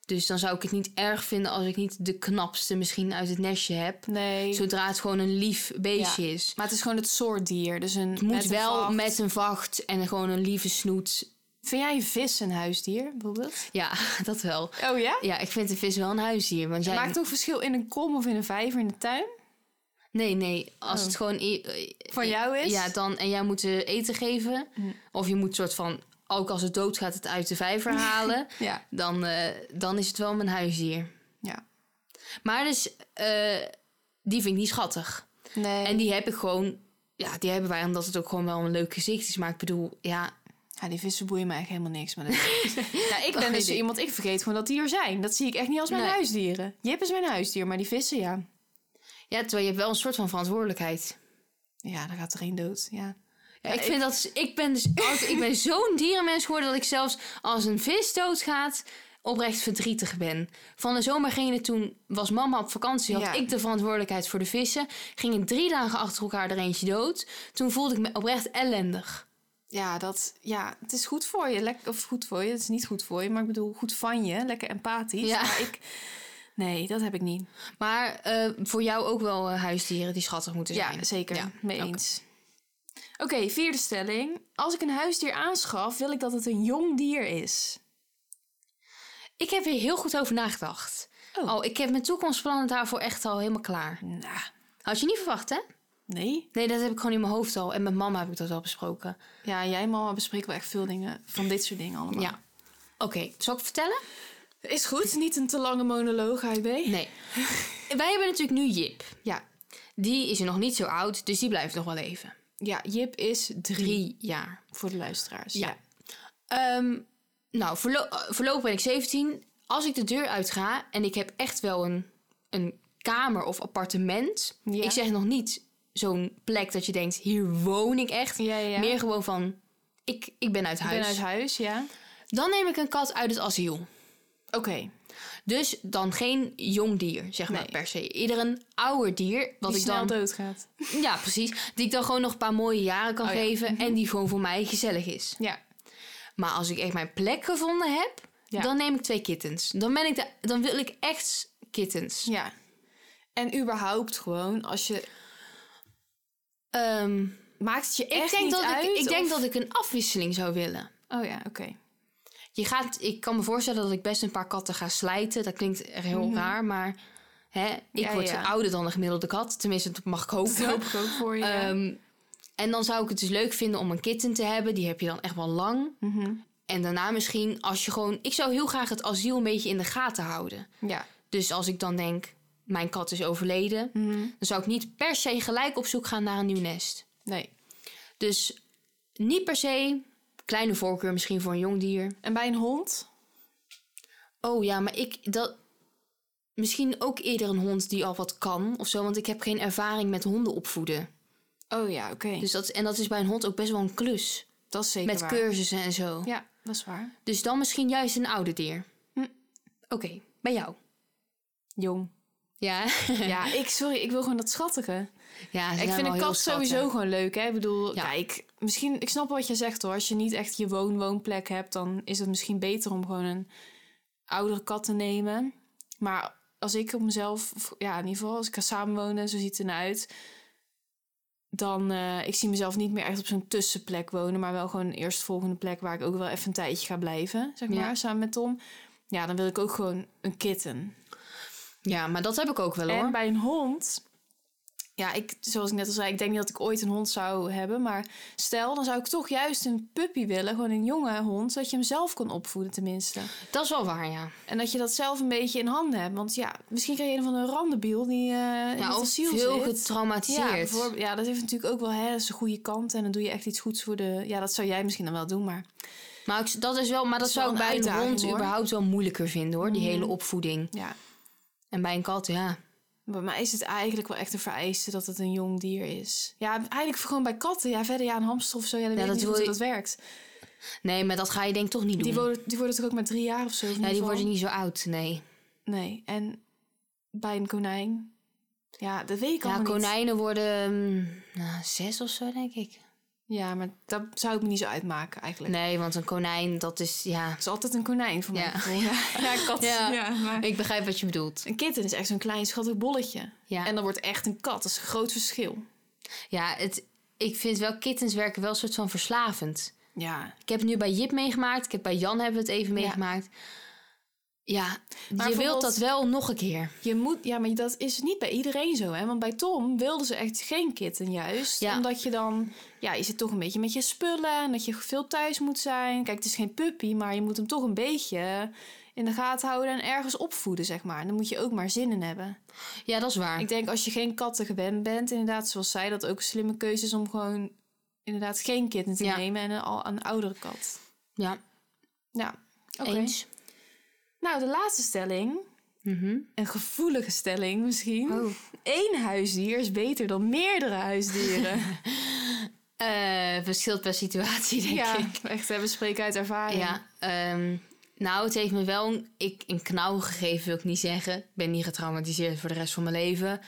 Speaker 2: Dus dan zou ik het niet erg vinden als ik niet de knapste misschien uit het nestje heb.
Speaker 1: Nee.
Speaker 2: Zodra het gewoon een lief beestje
Speaker 1: Ja.
Speaker 2: is.
Speaker 1: Maar het is gewoon het soort dier. Dus een,
Speaker 2: Het moet
Speaker 1: met een
Speaker 2: wel
Speaker 1: vacht.
Speaker 2: met een vacht en gewoon een lieve snoet.
Speaker 1: Vind jij een vis een huisdier, bijvoorbeeld?
Speaker 2: Ja, dat wel.
Speaker 1: Oh ja?
Speaker 2: Ja, ik vind de vis wel een huisdier. Want jij...
Speaker 1: Maakt toch verschil in een kom of in een vijver in de tuin?
Speaker 2: Nee, nee. Als
Speaker 1: Oh.
Speaker 2: het gewoon... i- i-
Speaker 1: Van jou is?
Speaker 2: Ja, dan, en jij moet ze eten geven.
Speaker 1: Hm.
Speaker 2: Of je moet soort van, ook als het doodgaat, het uit de vijver halen.
Speaker 1: Ja.
Speaker 2: dan, eh, dan is het wel mijn huisdier.
Speaker 1: Ja.
Speaker 2: Maar dus, eh, die vind ik niet schattig.
Speaker 1: Nee.
Speaker 2: En die heb ik gewoon, ja, die hebben wij omdat het ook gewoon wel een leuk gezicht is. Maar ik bedoel, ja,
Speaker 1: Ja, die vissen boeien me echt helemaal niks. Maar dat... nou, ik ben
Speaker 2: geen
Speaker 1: dus zo
Speaker 2: idee.
Speaker 1: iemand, ik vergeet gewoon dat die er zijn. Dat zie ik echt niet als mijn
Speaker 2: Nee.
Speaker 1: huisdieren. Jip is mijn huisdier, maar die vissen, ja.
Speaker 2: ja, terwijl je hebt wel een soort van verantwoordelijkheid.
Speaker 1: Ja, dan gaat er één dood. Ja.
Speaker 2: Ja,
Speaker 1: Ja,
Speaker 2: ik,
Speaker 1: ik-
Speaker 2: vind dat, ik ben dus altijd, ik ben zo'n dierenmens geworden dat ik zelfs als een vis doodgaat oprecht verdrietig ben. Van de zomer ging het toen, was mama op vakantie, had
Speaker 1: Ja.
Speaker 2: ik de verantwoordelijkheid voor de vissen. Gingen drie dagen achter elkaar er eentje dood. Toen voelde ik me oprecht ellendig.
Speaker 1: Ja, dat, ja, het is goed voor je. Lek, of goed voor je, het is niet goed voor je. Maar ik bedoel, goed van je. Lekker empathisch.
Speaker 2: Ja.
Speaker 1: Maar ik, nee, dat heb ik niet.
Speaker 2: Maar eh, voor jou ook wel eh, huisdieren die schattig moeten zijn.
Speaker 1: Ja, zeker.
Speaker 2: Ja,
Speaker 1: Mee
Speaker 2: oké.
Speaker 1: eens. Oké, vierde stelling. Als ik een huisdier aanschaf, wil ik dat het een jong dier is.
Speaker 2: Ik heb hier heel goed over nagedacht.
Speaker 1: Oh.
Speaker 2: Oh, ik heb mijn toekomstplannen daarvoor echt al helemaal klaar.
Speaker 1: Nou,
Speaker 2: Had je niet verwacht, hè?
Speaker 1: nee.
Speaker 2: Nee, dat heb ik gewoon in mijn hoofd al. En met mama heb ik dat al besproken.
Speaker 1: Ja, jij en mama bespreken wel echt veel dingen van dit soort dingen allemaal.
Speaker 2: Ja. Oké, zal ik vertellen?
Speaker 1: Is goed. Niet een te lange monoloog, HB.
Speaker 2: Nee. Wij hebben natuurlijk nu Jip.
Speaker 1: Ja.
Speaker 2: Die is nog niet zo oud, dus die blijft nog wel even.
Speaker 1: ja, Jip is drie,
Speaker 2: Drie jaar.
Speaker 1: voor de luisteraars.
Speaker 2: Ja. Ehm, nou, voorlo- eh, voorlopig ben ik 17. Als ik de deur uit ga en ik heb echt wel een, een kamer of appartement.
Speaker 1: Ja.
Speaker 2: Ik zeg nog niet zo'n plek dat je denkt, hier woon ik echt.
Speaker 1: Ja, ja.
Speaker 2: Meer gewoon van, ik, ik ben uit
Speaker 1: Ik
Speaker 2: huis.
Speaker 1: ben uit huis, ja.
Speaker 2: Dan neem ik een kat uit het asiel.
Speaker 1: Oké.
Speaker 2: Dus dan geen jong dier, zeg maar
Speaker 1: Nee.
Speaker 2: per se. Ieder een ouder dier. Wat
Speaker 1: Die
Speaker 2: ik
Speaker 1: snel
Speaker 2: dan
Speaker 1: doodgaat.
Speaker 2: Ja, precies. Die ik dan gewoon nog een paar mooie jaren kan
Speaker 1: Oh ja.
Speaker 2: geven. En die gewoon voor mij gezellig is.
Speaker 1: Ja.
Speaker 2: Maar als ik echt mijn plek gevonden heb,
Speaker 1: Ja.
Speaker 2: dan neem ik twee kittens. Dan, ben ik de, dan wil ik echt kittens.
Speaker 1: Ja. En überhaupt gewoon, als je...
Speaker 2: Ehm,
Speaker 1: Maakt het je echt
Speaker 2: ik denk,
Speaker 1: niet
Speaker 2: dat,
Speaker 1: uit?
Speaker 2: ik, ik denk
Speaker 1: of-
Speaker 2: dat ik een afwisseling zou willen.
Speaker 1: Oh ja, oké.
Speaker 2: Je gaat, ik kan me voorstellen dat ik best een paar katten ga slijten. Dat klinkt echt heel raar, maar hè, ik
Speaker 1: Mhm. Ja,
Speaker 2: word
Speaker 1: ja.
Speaker 2: ouder dan een gemiddelde kat. Tenminste, dat mag ik
Speaker 1: Dat
Speaker 2: hopen.
Speaker 1: hoop ik ook voor je. ja.
Speaker 2: Ehm, en dan zou ik het dus leuk vinden om een kitten te hebben. Die heb je dan echt wel lang.
Speaker 1: Mhm.
Speaker 2: En daarna misschien als je gewoon. Ik zou heel graag het asiel een beetje in de gaten houden.
Speaker 1: Ja.
Speaker 2: Dus als ik dan denk, mijn kat is overleden,
Speaker 1: mhm.
Speaker 2: dan zou ik niet per se gelijk op zoek gaan naar een nieuw nest.
Speaker 1: Nee.
Speaker 2: Dus niet per se. Kleine voorkeur misschien voor een jong dier.
Speaker 1: En bij een hond?
Speaker 2: Oh ja, maar ik. Dat, misschien ook eerder een hond die al wat kan of zo. Want ik heb geen ervaring met honden opvoeden.
Speaker 1: Oh ja, oké.
Speaker 2: Dus dat, en dat is bij een hond ook best wel een klus.
Speaker 1: dat is zeker
Speaker 2: Met
Speaker 1: waar.
Speaker 2: cursussen en zo.
Speaker 1: Ja, dat is waar.
Speaker 2: Dus dan misschien juist een oude dier.
Speaker 1: Hm.
Speaker 2: Oké, bij jou.
Speaker 1: Jong.
Speaker 2: Ja,
Speaker 1: Ja, ik, sorry, ik wil gewoon dat schattige.
Speaker 2: ja
Speaker 1: ik vind een kat sowieso gewoon leuk, hè. Ik bedoel,
Speaker 2: Ja.
Speaker 1: kijk, misschien... Ik snap wat je zegt, hoor. Als je niet echt je woon-woonplek hebt... dan is het misschien beter om gewoon een oudere kat te nemen. Maar als ik op mezelf... of Ja, in ieder geval, als ik ga samenwonen, zo ziet het ernaar uit... dan... eh, ik zie mezelf niet meer echt op zo'n tussenplek wonen... maar wel gewoon een eerstvolgende plek... waar ik ook wel even een tijdje ga blijven, zeg maar,
Speaker 2: Ja.
Speaker 1: samen met Tom. Ja, dan wil ik ook gewoon een kitten.
Speaker 2: Ja, maar dat heb ik ook wel hoor.
Speaker 1: En bij een hond. Ja, ik, zoals ik net al zei, ik denk niet dat ik ooit een hond zou hebben. Maar stel, dan zou ik toch juist een puppy willen. Gewoon een jonge hond, zodat je hem zelf kon opvoeden tenminste.
Speaker 2: Dat is wel waar, ja.
Speaker 1: En dat je dat zelf een beetje in handen hebt. Want ja, misschien krijg je een van een randebiel die eh in
Speaker 2: ja
Speaker 1: het
Speaker 2: of
Speaker 1: asiel
Speaker 2: veel
Speaker 1: zit. Ja,
Speaker 2: getraumatiseerd.
Speaker 1: bijvoorbeeld- ja, dat heeft natuurlijk ook wel hè, dat is de goede kant. En dan doe je echt iets goeds voor de... Ja, dat zou jij misschien dan wel doen, maar...
Speaker 2: maar ik, dat is wel, maar dat
Speaker 1: is wel
Speaker 2: zou ik
Speaker 1: een
Speaker 2: bij een
Speaker 1: uitdaging,
Speaker 2: hond
Speaker 1: hoor.
Speaker 2: überhaupt wel moeilijker vinden hoor. Die hele opvoeding.
Speaker 1: Ja,
Speaker 2: En bij een kat, ja.
Speaker 1: bij mij is het eigenlijk wel echt een vereiste dat het een jong dier is. Ja, eigenlijk gewoon bij katten. Ja, verder ja, een hamster of zo. Ja, dan
Speaker 2: Ja,
Speaker 1: weet ik
Speaker 2: dat
Speaker 1: niet
Speaker 2: wil
Speaker 1: hoe
Speaker 2: je-
Speaker 1: dat werkt.
Speaker 2: Nee, maar dat ga je denk ik toch niet doen.
Speaker 1: Die worden, die worden toch ook maar drie jaar of zo? of in ieder
Speaker 2: ja, die
Speaker 1: geval?
Speaker 2: worden niet zo oud, nee.
Speaker 1: Nee, en bij een konijn. Ja, dat weet ik
Speaker 2: Ja,
Speaker 1: allemaal niet.
Speaker 2: konijnen worden mm, nou, zes of zo, denk ik.
Speaker 1: Ja, maar dat zou ik me niet zo uitmaken eigenlijk.
Speaker 2: Nee, want een konijn, dat is, ja...
Speaker 1: Het is altijd een konijn voor mij.
Speaker 2: Ja.
Speaker 1: ja. ja, kat.
Speaker 2: Ja.
Speaker 1: maar-
Speaker 2: Ik begrijp wat je bedoelt.
Speaker 1: Een kitten is echt zo'n klein schattig bolletje.
Speaker 2: Ja,
Speaker 1: En dan wordt echt een kat. Dat is een groot verschil.
Speaker 2: ja het, ik vind wel kittens werken wel een soort van verslavend.
Speaker 1: Ja.
Speaker 2: Ik heb het nu bij Jip meegemaakt. Ik heb bij Jan hebben we het even
Speaker 1: Ja.
Speaker 2: meegemaakt. Ja, je wilt
Speaker 1: bijvoorbeeld-
Speaker 2: dat wel nog een keer.
Speaker 1: Je moet, ja, maar dat is niet bij iedereen zo, hè? Want bij Tom wilden ze echt geen kitten, juist.
Speaker 2: Ja.
Speaker 1: Omdat je dan, ja, je zit toch een beetje met je spullen en dat je veel thuis moet zijn. Kijk, het is geen puppy, maar je moet hem toch een beetje in de gaten houden en ergens opvoeden, zeg maar. En dan moet je ook maar zin in hebben.
Speaker 2: Ja, dat is waar.
Speaker 1: Ik denk als je geen katten gewend bent, inderdaad, zoals zij, dat ook een slimme keuze is om gewoon inderdaad geen kitten te
Speaker 2: Ja.
Speaker 1: nemen en een, al een oudere kat.
Speaker 2: Ja,
Speaker 1: Ja, oké.
Speaker 2: eens.
Speaker 1: Nou, de laatste stelling,
Speaker 2: Mhm.
Speaker 1: een gevoelige stelling misschien.
Speaker 2: Oh.
Speaker 1: Eén huisdier is beter dan meerdere huisdieren.
Speaker 2: Eh, verschilt per situatie, denk
Speaker 1: ja,
Speaker 2: ik.
Speaker 1: echt, hè, we spreken uit ervaring.
Speaker 2: Ja, ehm, nou, het heeft me wel een, ik, een knauw gegeven, wil ik niet zeggen. Ik ben niet getraumatiseerd voor de rest van mijn leven.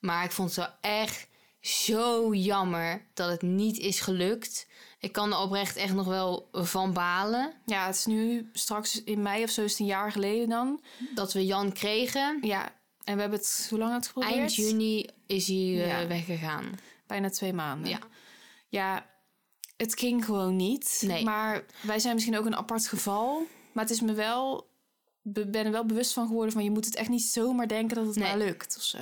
Speaker 2: Maar ik vond het wel echt zo jammer dat het niet is gelukt. Ik kan er oprecht echt nog wel van balen
Speaker 1: Ja, het is nu straks in mei of zo, is het een jaar geleden dan.
Speaker 2: dat we Jan kregen.
Speaker 1: Ja, en we hebben het, hoe lang het geprobeerd?
Speaker 2: Eind juni is hij eh,
Speaker 1: Ja.
Speaker 2: weggegaan.
Speaker 1: Bijna twee maanden.
Speaker 2: Ja.
Speaker 1: Ja, het ging gewoon niet.
Speaker 2: Nee.
Speaker 1: Maar wij zijn misschien ook een apart geval. Maar het is me wel, be- ben er wel bewust van geworden van je moet het echt niet zomaar denken dat het
Speaker 2: Nee.
Speaker 1: maar lukt of zo.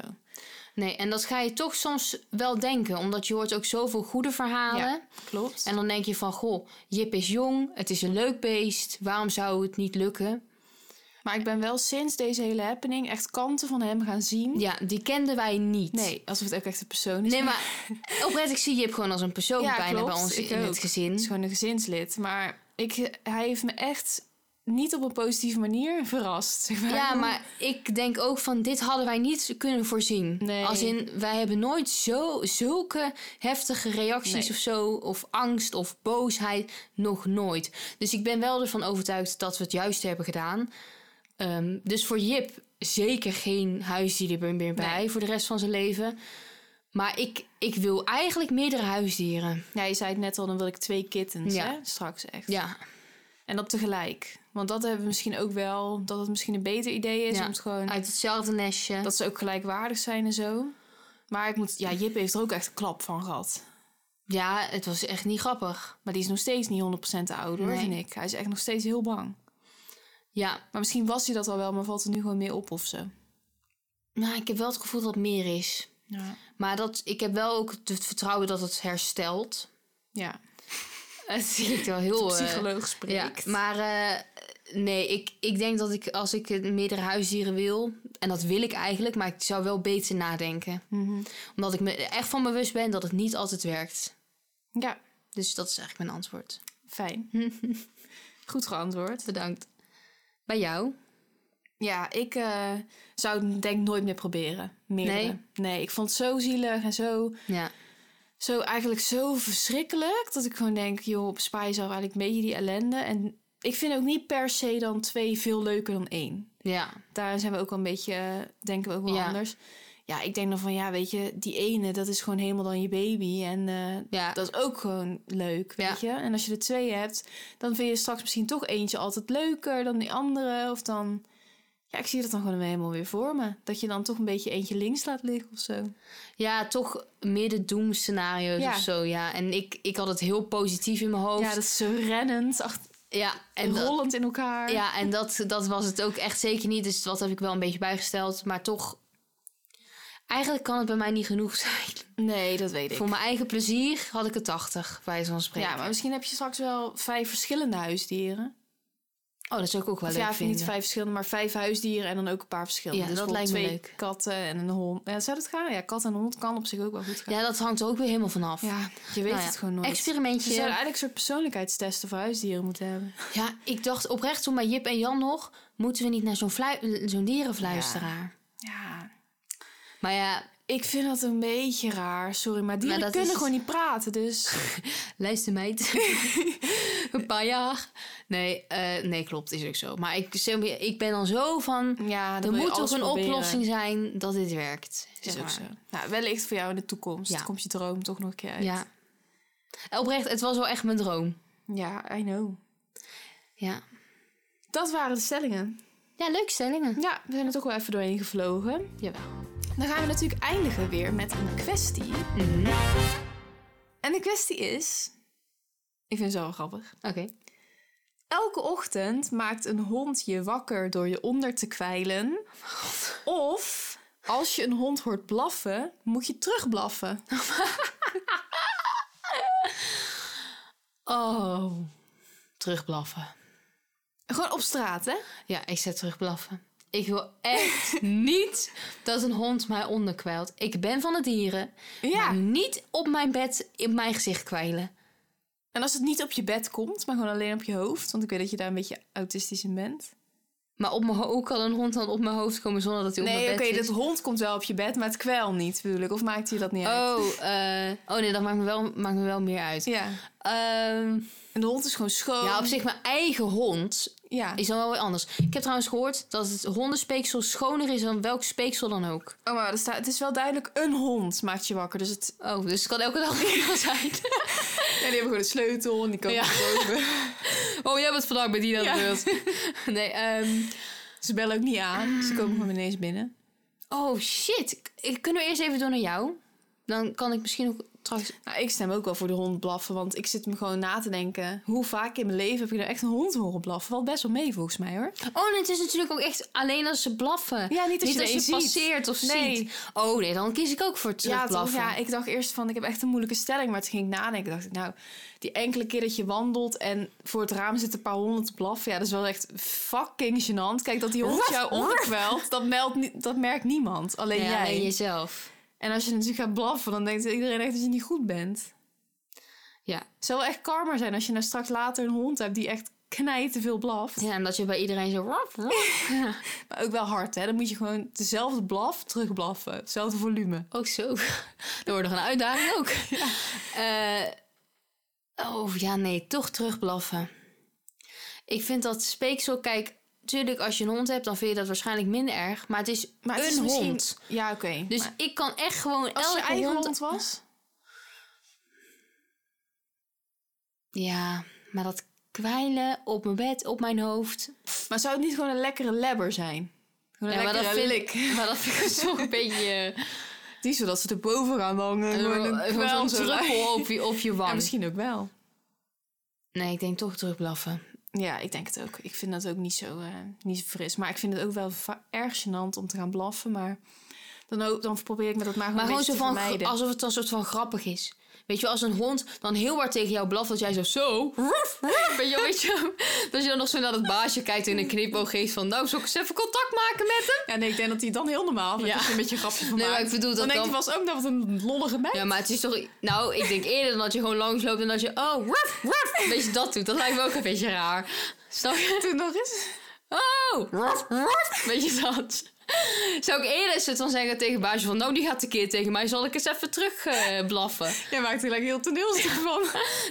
Speaker 2: Nee, en dat ga je toch soms wel denken, omdat je hoort ook zoveel goede verhalen.
Speaker 1: Ja. Klopt.
Speaker 2: En dan denk je van, goh, Jip is jong, het is een leuk beest, waarom zou het niet lukken?
Speaker 1: Maar ik ben wel sinds deze hele happening echt kanten van hem gaan zien.
Speaker 2: Ja, die kenden wij niet.
Speaker 1: Nee, alsof het ook echt een persoon is.
Speaker 2: Nee, maar oprecht, ik zie Jip gewoon als een persoon
Speaker 1: Ja,
Speaker 2: bijna
Speaker 1: klopt,
Speaker 2: bij ons
Speaker 1: ik
Speaker 2: in
Speaker 1: ook.
Speaker 2: het gezin.
Speaker 1: Het is gewoon een gezinslid. Maar ik, hij heeft me echt niet op een positieve manier verrast. zeg maar.
Speaker 2: Ja, maar ik denk ook van dit hadden wij niet kunnen voorzien.
Speaker 1: Nee.
Speaker 2: Als in, wij hebben nooit zo, zulke heftige reacties
Speaker 1: Nee.
Speaker 2: of zo, of angst of boosheid, nog nooit. Dus ik ben wel ervan overtuigd dat we het juist hebben gedaan. Ehm, dus voor Jip zeker geen huisdier er meer bij voor de rest van zijn leven. Maar ik, ik wil eigenlijk meerdere huisdieren.
Speaker 1: Ja, je zei het net al, dan wil ik twee kittens
Speaker 2: Ja.
Speaker 1: hè? straks echt.
Speaker 2: Ja,
Speaker 1: En dat tegelijk. Want dat hebben we misschien ook wel, dat het misschien een beter idee is
Speaker 2: Ja. Ah,
Speaker 1: om het gewoon...
Speaker 2: uit hetzelfde nestje.
Speaker 1: Dat ze ook gelijkwaardig zijn en zo. Maar ik moet, ja, Jip heeft er ook echt een klap van gehad.
Speaker 2: Ja, het was echt niet grappig.
Speaker 1: Maar die is nog steeds niet 100% oud hoor,
Speaker 2: Nee.
Speaker 1: vind ik. Hij is echt nog steeds heel bang.
Speaker 2: Ja,
Speaker 1: Maar misschien was hij dat al wel, maar valt het nu gewoon meer op of zo.
Speaker 2: nou, ik heb wel het gevoel dat het meer is.
Speaker 1: Ja.
Speaker 2: Maar dat, ik heb wel ook het vertrouwen dat het herstelt.
Speaker 1: Ja,
Speaker 2: Dat zie ik wel heel... eh,
Speaker 1: psycholoog
Speaker 2: ja,
Speaker 1: spreekt.
Speaker 2: maar eh, nee, ik, ik denk dat ik als ik eh, meerdere huisdieren wil... en dat wil ik eigenlijk, maar ik zou wel beter nadenken.
Speaker 1: Mhm.
Speaker 2: Omdat ik me er echt van bewust ben dat het niet altijd werkt.
Speaker 1: Ja,
Speaker 2: Dus dat is eigenlijk mijn antwoord.
Speaker 1: fijn. Goed geantwoord.
Speaker 2: Bedankt. Bij jou?
Speaker 1: Ja, ik eh, zou het denk ik nooit meer proberen. Meerdere.
Speaker 2: Nee?
Speaker 1: nee, ik vond het zo zielig en zo,
Speaker 2: Ja.
Speaker 1: zo eigenlijk zo verschrikkelijk. Dat ik gewoon denk, joh, bespaar jezelf eigenlijk een beetje die ellende. En ik vind ook niet per se dan twee veel leuker dan één.
Speaker 2: Ja.
Speaker 1: Daar zijn we ook wel een beetje, eh, denken we ook wel
Speaker 2: Ja.
Speaker 1: anders. Ja, ik denk dan van, ja, weet je, die ene, dat is gewoon helemaal dan je baby. En eh,
Speaker 2: Ja.
Speaker 1: Dat is ook gewoon leuk, weet je. En als je er twee hebt, dan vind je straks misschien toch eentje altijd leuker dan die andere. Of dan... Ja, ik zie dat dan gewoon helemaal weer voor me. Dat je dan toch een beetje eentje links laat liggen of zo.
Speaker 2: Ja, toch meer de doemscenario's
Speaker 1: Ja.
Speaker 2: of zo, ja. En ik, ik had het heel positief in mijn hoofd.
Speaker 1: Ja, dat is zo rennend ach,
Speaker 2: Ja,
Speaker 1: en
Speaker 2: en, dat,
Speaker 1: rollend in elkaar.
Speaker 2: ja, en dat, dat was het ook echt zeker niet. Dus dat heb ik wel een beetje bijgesteld. Maar toch, eigenlijk kan het bij mij niet genoeg zijn.
Speaker 1: Nee, dat weet ik.
Speaker 2: Voor mijn eigen plezier had ik het 80, bij zo'n spreken.
Speaker 1: Ja, maar misschien heb je straks wel vijf verschillende huisdieren.
Speaker 2: Oh, dat zou ik ook wel
Speaker 1: Of
Speaker 2: leuk
Speaker 1: ja,
Speaker 2: vinden.
Speaker 1: niet vijf verschillende, maar vijf huisdieren en dan ook een paar verschillende. Dus
Speaker 2: Ja, dat
Speaker 1: bijvoorbeeld
Speaker 2: lijkt me
Speaker 1: twee katten en een hond. Ja, zou dat gaan? Ja, kat en hond kan op zich ook wel goed gaan.
Speaker 2: Ja, dat hangt er ook weer helemaal vanaf.
Speaker 1: Ja, je weet
Speaker 2: Nou ja,
Speaker 1: het gewoon nooit. Ze
Speaker 2: Experimentje.
Speaker 1: zouden eigenlijk een soort persoonlijkheidstesten voor huisdieren moeten hebben.
Speaker 2: Ja, ik dacht oprecht toen bij Jip en Jan nog... moeten we niet naar zo'n flui- zo'n dierenfluisteraar?
Speaker 1: Ja.
Speaker 2: Maar ja,
Speaker 1: Ik vind dat een beetje raar, sorry. Maar dieren
Speaker 2: dat
Speaker 1: kunnen
Speaker 2: is-
Speaker 1: gewoon niet praten, dus...
Speaker 2: luister meid. een paar jaar. Nee, eh, nee, klopt, is ook zo. Maar ik, zeg maar, ik ben al zo van.
Speaker 1: Ja,
Speaker 2: Er
Speaker 1: wil je
Speaker 2: moet toch
Speaker 1: alles
Speaker 2: een
Speaker 1: proberen.
Speaker 2: oplossing zijn dat dit werkt.
Speaker 1: Is
Speaker 2: zeg
Speaker 1: ook
Speaker 2: maar.
Speaker 1: zo. Nou, wellicht voor jou in de toekomst.
Speaker 2: Ja.
Speaker 1: Dan komt je droom toch nog een keer uit.
Speaker 2: Ja. En Oprecht, het was wel echt mijn droom.
Speaker 1: ja, I know.
Speaker 2: Ja.
Speaker 1: Dat waren de stellingen.
Speaker 2: Ja, leuke stellingen.
Speaker 1: Ja, we zijn er toch wel even doorheen gevlogen.
Speaker 2: Jawel.
Speaker 1: Dan gaan we natuurlijk eindigen weer met een kwestie.
Speaker 2: Mhm.
Speaker 1: En de kwestie is... Ik vind het zo wel grappig.
Speaker 2: Oké.
Speaker 1: Elke ochtend maakt een hond je wakker door je onder te kwijlen. Of als je een hond hoort blaffen, moet je terugblaffen.
Speaker 2: Oh. Terugblaffen.
Speaker 1: Gewoon op straat, hè?
Speaker 2: Ja, ik zet terugblaffen. Ik wil echt niet dat een hond mij onderkwijlt. Ik ben van de dieren. Maar
Speaker 1: Ja.
Speaker 2: niet op mijn bed in mijn gezicht kwijlen.
Speaker 1: En als het niet op je bed komt, maar gewoon alleen op je hoofd. Want ik weet dat je daar een beetje autistisch in bent.
Speaker 2: Maar op mijn ho- hoe kan een hond dan op mijn hoofd komen zonder dat hij op mijn
Speaker 1: Nee,
Speaker 2: bed
Speaker 1: oké,
Speaker 2: zit?
Speaker 1: dat hond komt wel op je bed, maar het kwel niet, bedoel ik. Of maakt je dat niet uit?
Speaker 2: Oh, eh, oh nee, dat maakt me wel, maakt me wel meer uit.
Speaker 1: Ja.
Speaker 2: Ehm,
Speaker 1: En de hond is gewoon schoon.
Speaker 2: ja, op zich mijn eigen hond
Speaker 1: Ja.
Speaker 2: is dan wel weer anders. Ik heb trouwens gehoord dat het hondenspeeksel schoner is dan welk speeksel dan ook.
Speaker 1: Oh, maar er staat, het is wel duidelijk een hond maakt je wakker. Dus het,
Speaker 2: Oh, dus het kan elke dag weer zijn.
Speaker 1: ja, die hebben gewoon een sleutel en die komen
Speaker 2: Ja.
Speaker 1: boven.
Speaker 2: oh, jij bent vandaag bij die dat
Speaker 1: Ja.
Speaker 2: gebeurd. Nee, ehm,
Speaker 1: Ze bellen ook niet aan. Ze komen gewoon ineens binnen.
Speaker 2: oh shit. K- Kunnen we eerst even door naar jou? Dan kan ik misschien ook trouwens...
Speaker 1: Nou, ik stem ook wel voor de hond blaffen. Want ik zit me gewoon na te denken. Hoe vaak in mijn leven heb ik nou echt een hond horen blaffen? Valt best wel mee volgens mij hoor.
Speaker 2: Oh, nee, het is natuurlijk ook echt alleen als ze blaffen.
Speaker 1: Ja, niet als je er een ziet.
Speaker 2: passeert of
Speaker 1: Nee.
Speaker 2: ziet. Oh nee, dan kies ik ook voor
Speaker 1: Ja, toch,
Speaker 2: terugblaffen.
Speaker 1: ja, ik dacht eerst van, ik heb echt een moeilijke stelling. Maar toen ging ik nadenken. dacht ik, nou, die enkele keer dat je wandelt en voor het raam zitten een paar honden te blaffen. Ja, dat is wel echt fucking gênant. Kijk, dat die hond jou onderkwelt, dat, meldt ni- dat merkt niemand. Alleen
Speaker 2: Ja,
Speaker 1: jij.
Speaker 2: alleen jezelf.
Speaker 1: En als je natuurlijk gaat blaffen, dan denkt iedereen echt dat je niet goed bent.
Speaker 2: Ja.
Speaker 1: Het zou wel echt karma zijn als je nou straks later een hond hebt die echt knijt te veel blaft.
Speaker 2: ja, en dat je bij iedereen zo... raf, raf.
Speaker 1: Maar ook wel hard, hè? Dan moet je gewoon dezelfde blaf terugblaffen. Hetzelfde volume.
Speaker 2: Ook zo. Dat wordt nog een uitdaging ook. Eh, oh ja, nee, toch terugblaffen. Ik vind dat speeksel, kijk, natuurlijk als je een hond hebt, dan vind je dat waarschijnlijk minder erg. Maar het is
Speaker 1: Maar
Speaker 2: een
Speaker 1: het is misschien-
Speaker 2: hond.
Speaker 1: Ja, oké.
Speaker 2: Dus
Speaker 1: Maar
Speaker 2: ik kan echt gewoon
Speaker 1: als je
Speaker 2: elke
Speaker 1: eigen hond...
Speaker 2: hond...
Speaker 1: was?
Speaker 2: Ja, maar dat kwijlen op mijn bed, op mijn hoofd.
Speaker 1: Maar zou het niet gewoon een lekkere labber zijn? Gewoon een
Speaker 2: Ja, maar dat
Speaker 1: lekkere
Speaker 2: vind
Speaker 1: lik.
Speaker 2: ik. Maar dat vind ik dus toch een beetje... eh,
Speaker 1: Die zodat ze erboven gaan hangen. gewoon een
Speaker 2: gewoon
Speaker 1: kwel
Speaker 2: zo'n
Speaker 1: zo erbij.
Speaker 2: druppel op je, op je wang.
Speaker 1: Ja, misschien ook wel.
Speaker 2: Nee, ik denk toch terugblaffen.
Speaker 1: Ja, ik denk het ook. Ik vind dat ook niet zo, eh, niet zo fris. Maar ik vind het ook wel va- erg gênant om te gaan blaffen. Maar dan, ook, dan probeer ik met dat maar gewoon,
Speaker 2: Maar
Speaker 1: een
Speaker 2: gewoon
Speaker 1: beetje
Speaker 2: zo
Speaker 1: te
Speaker 2: van,
Speaker 1: vermijden.
Speaker 2: alsof het een soort van grappig is. Weet je, wel, als een hond dan heel hard tegen jou blaft, dat jij zo zo... roef, roef, Weet je, weet je, dat je dan nog zo naar dat baasje kijkt en een knipoog geeft van... Nou, zal ik eens even contact maken met hem?
Speaker 1: Ja, nee, ik denk dat hij dan heel normaal vindt
Speaker 2: Ja.
Speaker 1: als je een beetje een grapje van
Speaker 2: Nee, maar
Speaker 1: maakt.
Speaker 2: ik bedoel
Speaker 1: dan
Speaker 2: dat
Speaker 1: denk
Speaker 2: dan-
Speaker 1: je vast ook dat het een lollige meid
Speaker 2: Ja, maar het is toch... Nou, ik denk eerder dan dat je gewoon langsloopt en dat je... Oh, roef, roef, een beetje dat doet. Dat lijkt me ook een beetje raar. Snap je?
Speaker 1: toen nog is.
Speaker 2: Oh, rof, rof. Weet je dat? Zou ik eerder eens dan zeggen tegen baasje van... Nou, die gaat tekeer tegen mij. Zal ik eens even terug eh, blaffen?
Speaker 1: Jij maakt er gelijk heel toneelstuk van.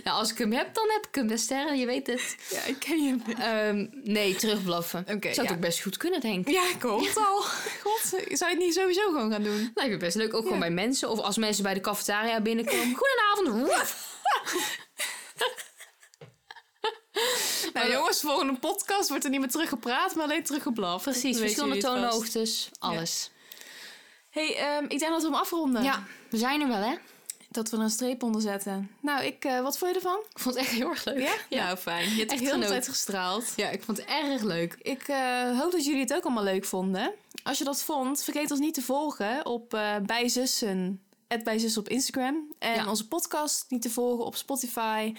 Speaker 2: Nou, als ik hem heb, dan heb ik hem. De sterren, je weet het.
Speaker 1: Ja, ik ken je.
Speaker 2: Ehm, nee, terugblaffen.
Speaker 1: Oké,
Speaker 2: Zou het
Speaker 1: ja.
Speaker 2: ook best goed kunnen, denk ik.
Speaker 1: Ja, ik hoor het al. God, zou je het niet sowieso gewoon gaan doen?
Speaker 2: Lijkt me best leuk. Ook gewoon bij mensen. Of als mensen bij de cafetaria binnenkomen. Goedenavond. roef.
Speaker 1: Nou jongens, volgende podcast wordt er niet meer teruggepraat, maar alleen teruggeblaf.
Speaker 2: Precies, verschillende toonhoogtes. Alles.
Speaker 1: hey, ehm, ik denk dat we hem afronden.
Speaker 2: Ja. we zijn er wel, hè?
Speaker 1: Dat we er een streep onder zetten. Nou, ik, eh, wat vond je ervan?
Speaker 2: Ik vond het echt heel erg leuk. Ja,
Speaker 1: Nou, fijn. Je hebt
Speaker 2: Echt
Speaker 1: echt heel de
Speaker 2: genoten.
Speaker 1: tijd gestraald.
Speaker 2: Ja, ik vond het erg leuk.
Speaker 1: Ik eh, hoop dat jullie het ook allemaal leuk vonden. Als je dat vond, vergeet ons niet te volgen op eh bijzussen, bijzussen op Instagram. En
Speaker 2: Ja.
Speaker 1: onze podcast niet te volgen op Spotify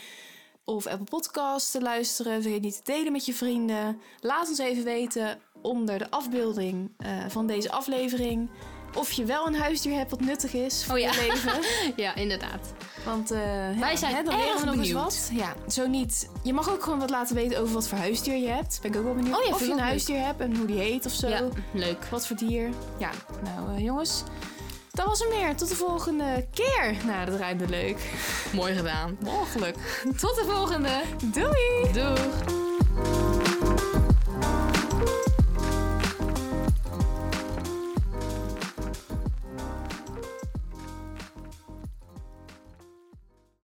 Speaker 1: of Apple Podcasts te luisteren. Vergeet niet te delen met je vrienden. Laat ons even weten onder de afbeelding eh, van deze aflevering... of je wel een huisdier hebt wat nuttig is voor
Speaker 2: Oh ja.
Speaker 1: je leven.
Speaker 2: Ja, inderdaad.
Speaker 1: Want eh, ja,
Speaker 2: zijn
Speaker 1: hè, dan leren
Speaker 2: erg
Speaker 1: we nog eens
Speaker 2: benieuwd.
Speaker 1: wat. Ja, zo niet. Je mag ook gewoon wat laten weten over wat voor huisdier je hebt. Ben ik ook wel benieuwd.
Speaker 2: Oh ja,
Speaker 1: of
Speaker 2: vind
Speaker 1: je
Speaker 2: ik
Speaker 1: een
Speaker 2: ook
Speaker 1: huisdier hebt en hoe die heet of zo.
Speaker 2: Ja, leuk.
Speaker 1: Wat voor dier. Ja, nou eh, jongens. Dat was hem weer. Tot de volgende keer. Nou, dat rijdt me leuk.
Speaker 2: Mooi gedaan.
Speaker 1: Mogelijk.
Speaker 2: Tot de volgende.
Speaker 1: Doei!
Speaker 2: Doeg.